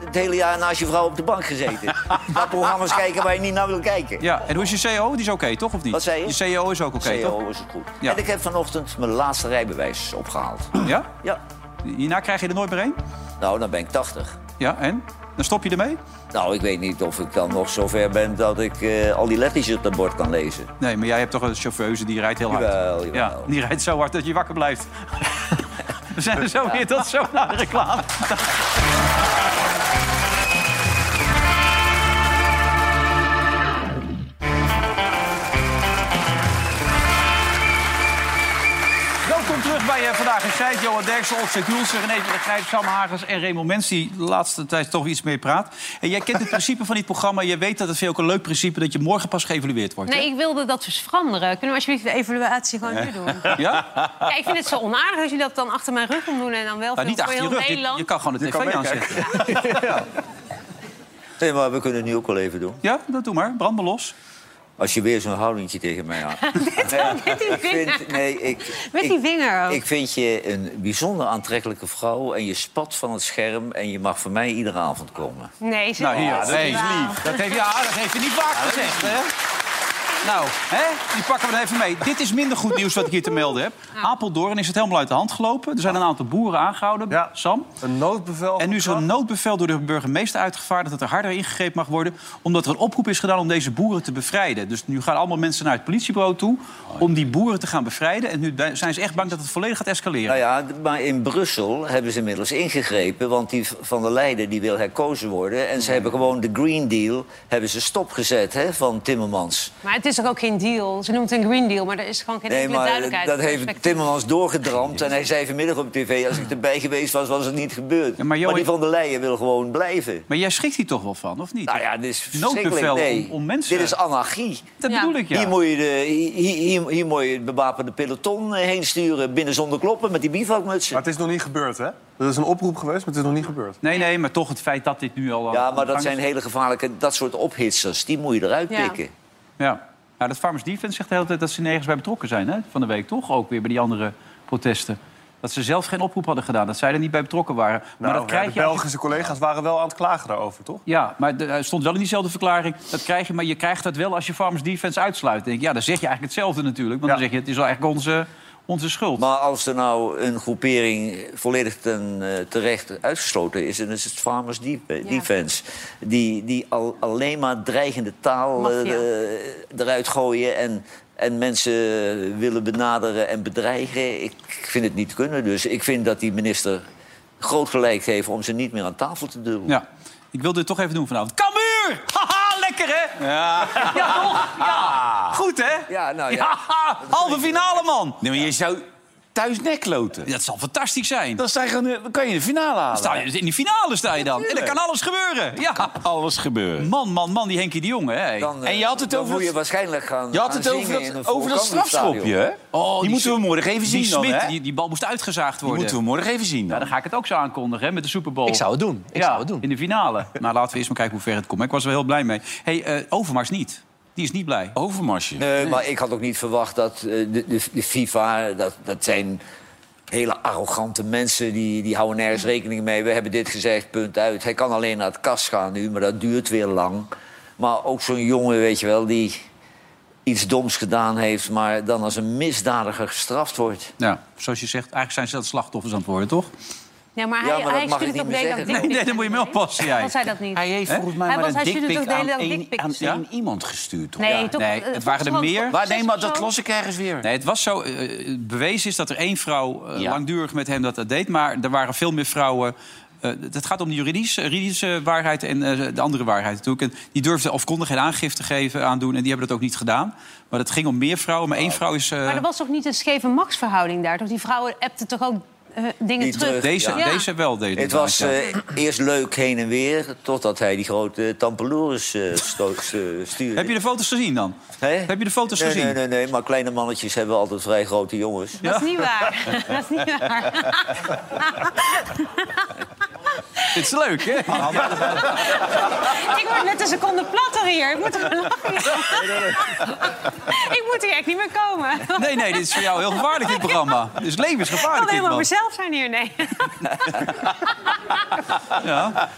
S4: het hele jaar naast je vrouw op de bank gezeten. dat programma's kijken waar je niet naar wil kijken.
S1: Ja, en hoe is je CEO? Die is oké, toch? Of niet?
S4: Wat zei je?
S1: Je CEO is ook oké,
S4: CEO
S1: toch?
S4: is het goed.
S1: Ja.
S4: En ik heb vanochtend mijn laatste rijbewijs opgehaald.
S1: Ja?
S4: Ja.
S1: Hierna krijg je er nooit meer heen?
S4: Nou, dan ben ik 80.
S1: Ja, en? Dan stop je ermee?
S4: Nou, ik weet niet of ik dan nog zover ben dat ik eh, al die lettertjes op dat bord kan lezen.
S1: Nee, maar jij hebt toch een chauffeuse die rijdt heel hard?
S4: Jawel,
S1: Ja, die rijdt zo hard dat je wakker blijft. We zijn er zo weer tot zo naar de reclame. Welkom terug bij eh, Vandaag in Tijd. Johan Derksen, Olsen Hulsen, René van der Grijp, Sam Hagers en Raymond Mens... die de laatste tijd toch iets meer praat. En jij kent het principe van dit programma. Je weet dat het veel ook een leuk principe... dat je morgen pas geëvalueerd wordt.
S5: Nee, ik wilde dat dus veranderen. Kunnen we alsjeblieft de evaluatie gewoon nu doen?
S1: hè? Ja?
S5: Ja, ik vind het zo onaardig als jullie dat dan achter mijn rug moet doen... en dan wel
S1: Nou,
S5: veel
S1: niet
S5: voor
S1: achter je
S5: heel
S1: rug. Je,
S5: Nederland.
S1: je kan gewoon de
S4: Je kan
S1: tv aanzetten.
S4: meekijken. Nee, maar we kunnen het nu ook wel even doen.
S1: Ja, dat doe maar. Brand me los.
S4: Als je weer zo'n houdingje tegen mij had.
S5: Met die
S4: Ik
S5: vinger.
S4: vind, nee, ik,
S5: Met die vinger ook.
S4: ik vind je een bijzonder aantrekkelijke vrouw... en je spat van het scherm en je mag voor mij iedere avond komen.
S5: Nee, ze
S4: Nou, hier, dat is
S5: Wauw.
S4: lief.
S1: Dat heeft, ja, dat heeft je niet vaak gezegd, hè? Nou, hè? die pakken we er even mee. Dit is minder goed nieuws wat ik hier te melden heb. Apeldoorn is het helemaal uit de hand gelopen. Er zijn
S4: Ah.
S1: een aantal boeren aangehouden, Sam.
S6: Een noodbevel.
S1: En nu is er een noodbevel door de burgemeester uitgevaardigd... dat er harder ingegrepen mag worden... omdat er een oproep is gedaan om deze boeren te bevrijden. Dus nu gaan allemaal mensen naar het politiebureau toe... om die boeren te gaan bevrijden. En nu zijn ze echt bang dat het volledig gaat escaleren.
S4: Nou ja, maar in Brussel hebben ze inmiddels ingegrepen. Want die van der Leyen die wil herkozen worden. En ze hebben gewoon de Green Deal hebben ze stopgezet hè, van Timmermans.
S5: Maar het is toch ook geen deal? Ze noemt het een Green Deal, maar er is gewoon geen
S4: Nee,
S5: enkele
S4: maar eh,
S5: duidelijkheid.
S4: dat heeft Timmermans doorgedramd. En hij zei vanmiddag op tv... als ik erbij geweest was, was het niet gebeurd. maar,
S1: Johan-
S4: die van der Leyen wil gewoon blijven.
S1: Maar jij schrikt hier toch wel van, of niet?
S4: Nou ja, dit is
S1: Noodbevel
S4: verschrikkelijk. Nee,
S1: om, om mensen...
S4: Dit is anarchie.
S1: Dat bedoel ik, ja.
S4: Hier moet je de, hier, hier, hier moet je het bewapende peloton eh, heen sturen... binnen zonder kloppen met die bivakmutsen.
S6: Maar het is nog niet gebeurd, hè? Dat is een oproep geweest, maar het is nog niet gebeurd.
S1: Nee, nee, maar toch het feit dat dit nu al...
S4: Ja,
S1: aan
S4: maar
S1: de
S4: dat
S1: gang
S4: zijn
S1: is.
S4: hele gevaarlijke... dat soort ophitsers, die moet je eruit
S1: Ja.
S4: pikken.
S1: Ja. ja, dat Farmers Defense zegt de hele tijd dat ze nergens bij betrokken zijn. Hè? Van de week toch, ook weer bij die andere protesten. Dat ze zelf geen oproep hadden gedaan, dat zij er niet bij betrokken waren. maar
S6: Nou,
S1: dat krijg
S6: ja, de
S1: je... als je-
S6: Belgische collega's waren wel aan het klagen daarover, toch?
S1: Ja, maar de- er stond wel in diezelfde verklaring. Dat krijg je, maar je krijgt dat wel als je Farmers Defense uitsluit. Dan Denk ik, ja, dan zeg je eigenlijk hetzelfde natuurlijk. Want dan zeg je, het is wel eigenlijk onze, onze schuld.
S4: Maar als er nou een groepering volledig ten, eh, terecht uitgesloten is... dan is het Farmers Def- Defense. Die, die al, alleen maar dreigende taal eh,
S5: Maffia.
S4: eh, eruit gooien... En, en mensen willen benaderen en bedreigen. Ik vind het niet kunnen. Dus ik vind dat die minister groot gelijk heeft... om ze niet meer aan tafel te duwen.
S1: Ja, ik wil dit toch even doen vanavond. Kamuur! Haha, lekker hè? Ja, Ah. toch? Ja. Goed hè?
S4: Ja, nou ja.
S1: halve finale man!
S17: Nee, maar je zou thuis nekloten.
S1: Dat zal fantastisch zijn.
S17: Dan, sta je gewoon, eh, dan kan je de finale halen.
S1: Dan sta je, dus in die finale sta je dan. En dan
S17: Natuurlijk.
S1: kan alles gebeuren. Ja.
S17: Alles gebeuren.
S1: Man, man, man, die Henkie de Jong, hè. hey.
S4: Dan, eh,
S17: En je had het
S4: dan
S17: over
S4: moet
S17: dat-
S4: je waarschijnlijk gaan
S17: Je had het
S4: gaan
S17: over
S4: zingen
S17: dat-
S4: in een
S17: over dat
S4: volkanstadion.
S17: strafschopje, hè?
S1: Oh,
S17: Die moeten we morgen even
S1: die
S17: zien dan,
S1: Smit,
S17: hè?
S1: Die, die bal moest uitgezaagd worden.
S17: moeten we morgen even zien dan.
S1: Ja, dan ga ik het ook zo aankondigen hè, met de Super Bowl.
S2: Ik zou het doen. Ik
S1: ja,
S2: zou het doen.
S1: in de finale. Maar Nou, laten we eerst maar kijken hoe ver het komt. Maar ik was er wel heel blij mee. hey, eh, Overmars niet. Die is niet blij.
S17: Overmarsje?
S4: Nee, maar ik had ook niet verwacht dat eh, de, de, de FIFA... Dat, dat zijn hele arrogante mensen, die, die houden nergens rekening mee. We hebben dit gezegd, punt uit. Hij kan alleen naar het kast gaan nu, maar dat duurt weer lang. Maar ook zo'n jongen, weet je wel, die iets doms gedaan heeft... maar dan als een misdadiger gestraft wordt.
S1: Ja, zoals je zegt, eigenlijk zijn ze dat slachtoffers aan het worden, toch?
S5: Ja, maar hij,
S4: Ja, maar dat
S5: hij
S4: mag ik
S5: stuurt
S4: niet
S5: ook
S4: meer
S5: de hele dag
S4: zeggen.
S1: Nee, nee, daar moet je mee oppassen, eh, jij.
S5: Hij zei dat niet.
S17: Hij heeft
S1: Hè?
S17: volgens mij
S5: Hij
S17: maar
S5: was-
S17: een
S5: hij stuurde
S17: dikpik
S5: toch de
S17: aan,
S5: hele dag
S17: één-
S5: dikpics?
S17: aan
S5: Ja.
S17: één iemand gestuurd. toch?
S5: Nee,
S17: Ja.
S5: toch?
S1: Nee,
S5: eh,
S1: het waren er
S5: volgens
S1: meer.
S5: mij-
S17: Waar, nee, maar dat
S5: Zo.
S17: los ik ergens weer.
S1: Nee, het was zo. eh, bewezen is dat er één vrouw eh,
S17: Ja.
S1: langdurig met hem dat, dat deed. Maar er waren veel meer vrouwen. eh, het gaat om de juridische, juridische waarheid en eh, de andere waarheid natuurlijk. En die durfden of konden geen aangifte geven, aandoen. En die hebben dat ook niet gedaan. Maar het ging om meer vrouwen. Maar één vrouw is... eh,
S5: Maar er was toch niet een scheve machtsverhouding daar? Toch? Die vrouwen appten toch ook eh, dingen
S4: Die
S5: terug?
S4: terug,
S1: deze,
S4: ja.
S1: deze wel deed
S4: Het
S1: inderdaad,
S4: was
S1: ja.
S4: eh, eerst leuk heen en weer... totdat hij die grote tampeloers eh, sto- eh, stuurde.
S1: Heb je de foto's gezien dan?
S4: Hè?
S1: Heb je de foto's
S4: nee,
S1: gezien?
S4: Nee, nee, nee, maar kleine mannetjes hebben altijd vrij grote jongens.
S5: Dat is niet waar. dat is niet waar.
S1: Dit is leuk, hè?
S5: ik word net een seconde platter hier. Ik moet er gewoon lachen. ik moet hier echt niet meer komen.
S1: Nee, nee, dit is voor jou heel gevaarlijk, dit programma. Dit is
S5: Ik kan
S1: levensgevaarlijk, dit
S5: helemaal
S1: man.
S5: mezelf zijn hier, nee.
S1: Ja. Maar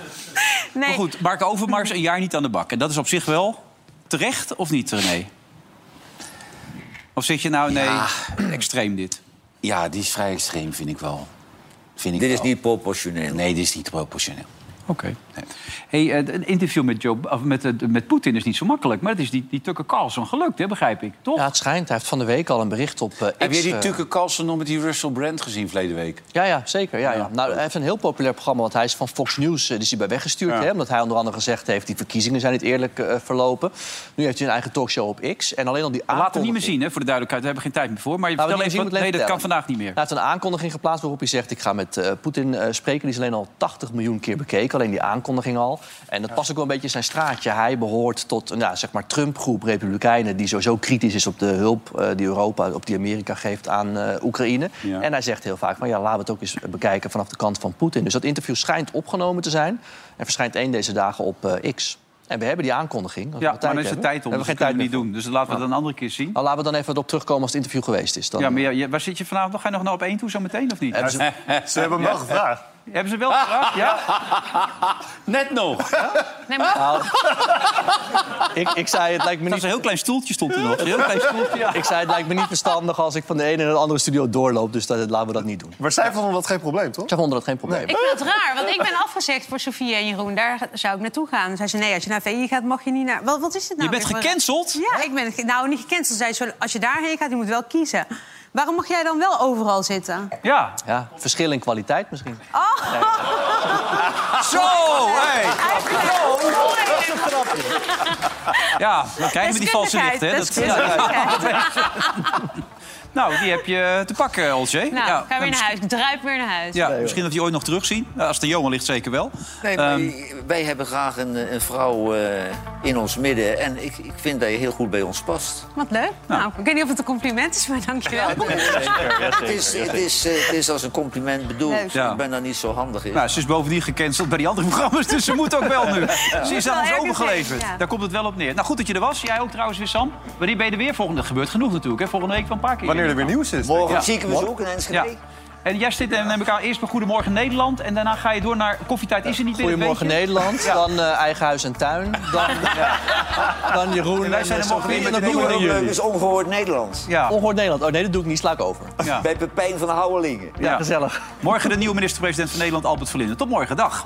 S5: nee.
S1: goed, Mark Overmars een jaar niet aan de bak. En dat is op zich wel terecht, of niet, René? Of zit je nou, nee, extreem dit?
S17: Ja, die is vrij extreem, vind ik wel. Vind ik
S4: Dit is
S17: wel.
S4: niet proportioneel.
S17: Nee, dit is niet proportioneel.
S1: Oké. Hey, eh, een interview met, Joe, of met, eh, met Poetin is niet zo makkelijk. Maar het is die, die Tucker Carlson gelukt, hè, begrijp ik, toch?
S2: Ja, het schijnt. Hij heeft van de week al een bericht op eh,
S17: Heb
S2: X,
S17: jij die
S2: eh,
S17: Tucker Carlson nog met die Russell Brand gezien verleden week?
S2: Ja, ja, zeker. Ja, ja. Nou, hij heeft een heel populair programma, want hij is van Fox News eh, die is hij bij weggestuurd.
S17: Ja.
S2: Hè, omdat hij onder andere gezegd heeft, die verkiezingen zijn niet eerlijk eh, verlopen. Nu heeft hij een eigen talkshow op X. En alleen al die
S1: We laten het niet
S2: aankondiging-
S1: meer zien, hè, voor de duidelijkheid. We hebben geen tijd meer voor. Maar je
S2: Nou,
S1: vertel
S2: we
S1: even,
S2: zien
S1: wat-
S2: het
S1: nee,
S2: even
S1: dat kan
S2: vertellen.
S1: vandaag niet meer.
S2: Hij heeft een aankondiging geplaatst waarop hij zegt... ik ga met eh, Poetin eh, spreken. Die is alleen al 80 miljoen keer bekeken. Alleen die aankondiging al. En dat past ook wel een beetje in zijn straatje. Hij behoort tot een ja, zeg maar Trump-groep republikeinen... die sowieso kritisch is op de hulp eh, die Europa, op die Amerika geeft aan eh, Oekraïne.
S17: Ja.
S2: En hij zegt heel vaak van ja, laten we het ook eens bekijken vanaf de kant van Poetin. Dus dat interview schijnt opgenomen te zijn. En verschijnt één deze dagen op eh, X. En we hebben die aankondiging. als we
S1: Ja,
S2: wat
S1: maar dan is het
S2: hebben.
S1: tijd om.
S2: We
S1: Dus
S2: hebben
S1: dat
S2: geen
S1: kunnen
S2: tijd
S1: we
S2: meer
S1: niet doen. Dus laten we dat een andere keer zien.
S2: Nou, laten we dan even erop terugkomen als het interview geweest is. Dan, eh,
S1: Ja, maar ja, ja, waar zit je vanavond nog? Ga je nog naar op één toe zo meteen, of niet?
S2: Hebben ze-
S6: Ze hebben hem wel
S1: Ja.
S6: gevraagd.
S1: Ah. Hebben ze wel gevraagd? Ja?
S17: Net nog.
S5: nee maar...
S2: ik, ik zei, het lijkt me niet...
S1: een heel klein stoeltje stond er nog. Een heel klein stoeltje, ja.
S2: Ik zei, het lijkt me niet verstandig als ik van de ene naar de andere studio doorloop. Dus dat, laten we dat niet doen.
S6: Maar zij vonden dat geen probleem, toch?
S2: Zij vonden dat geen probleem.
S5: Ik vind het raar, want ik ben afgezegd voor Sofie en Jeroen. Daar zou ik naartoe gaan. Zei ze, nee, als je naar VI gaat, mag je niet naar... Wat, wat is het nou?
S1: Je bent
S5: weer?
S1: gecanceld?
S5: Ja, ik ben ge- nou niet gecanceld. Zei ze, als je daarheen gaat, je moet wel kiezen. Waarom mag jij dan wel overal zitten?
S1: Ja.
S2: ja. Verschil in kwaliteit misschien.
S5: Oh!
S1: Zo, hé! Ja, dan krijgen we die valse
S5: Deskundigheid,
S1: lichten. hè. Dat-
S5: deskundigheid.
S1: Ja, Nou, die heb je te pakken, Olsje.
S5: Nou, ga weer naar huis. Ik druip weer naar huis.
S1: Ja, misschien dat we die ooit nog terugzien. Nou, Als de Johan ligt, zeker wel.
S4: Nee, maar wij hebben graag een, een vrouw eh, in ons midden. En ik, ik vind dat je heel goed bij ons past.
S5: Wat leuk. Nou. ik weet niet of het een compliment is, maar dankjewel.
S4: Het is, het, is, eh, het is als een compliment
S5: Leuk.
S4: bedoeld.
S1: Ja.
S4: Ik ben daar niet zo handig in.
S1: Nou, ze is bovendien gecanceld bij die andere programma's, dus ze moet ook wel nu. Ze is
S4: Wel
S1: aan ons
S4: ergens
S1: overgeleverd.
S4: heen, ja.
S1: Daar komt het wel op neer. Nou, goed dat je er was. Jij ook trouwens weer, Sam. Wanneer ben je er weer? Volgende, dat gebeurt genoeg natuurlijk, hè? Volgende week van een paar keer.
S6: Wanneer er weer nieuws is.
S4: Morgen ziekenbezoek in Enschede.
S1: En jij zit en neem ik aan eerst maar Goedemorgen Nederland. En daarna ga je door naar Koffietijd is er niet meer.
S2: Goedemorgen
S1: weet je?
S2: Nederland,
S1: Ja.
S2: dan eh, Eigen Huis en Tuin, dan, eh, dan Jeroen
S1: En wij zijn
S2: en
S1: er
S2: Sophie.
S1: morgen weer
S2: En
S1: met
S2: dat
S1: een
S2: doen we
S1: nieuwe
S2: dan
S1: jullie.
S2: jullie.
S4: Dus ongehoord Nederlands.
S1: Ja.
S2: Ongehoord Nederland. Oh nee, dat doe ik niet, sla ik over.
S1: Ja.
S4: Bij Pepijn van de Houwelingen.
S1: Ja. Morgen de nieuwe minister-president van Nederland, Albert Verlinde. Tot morgen, dag.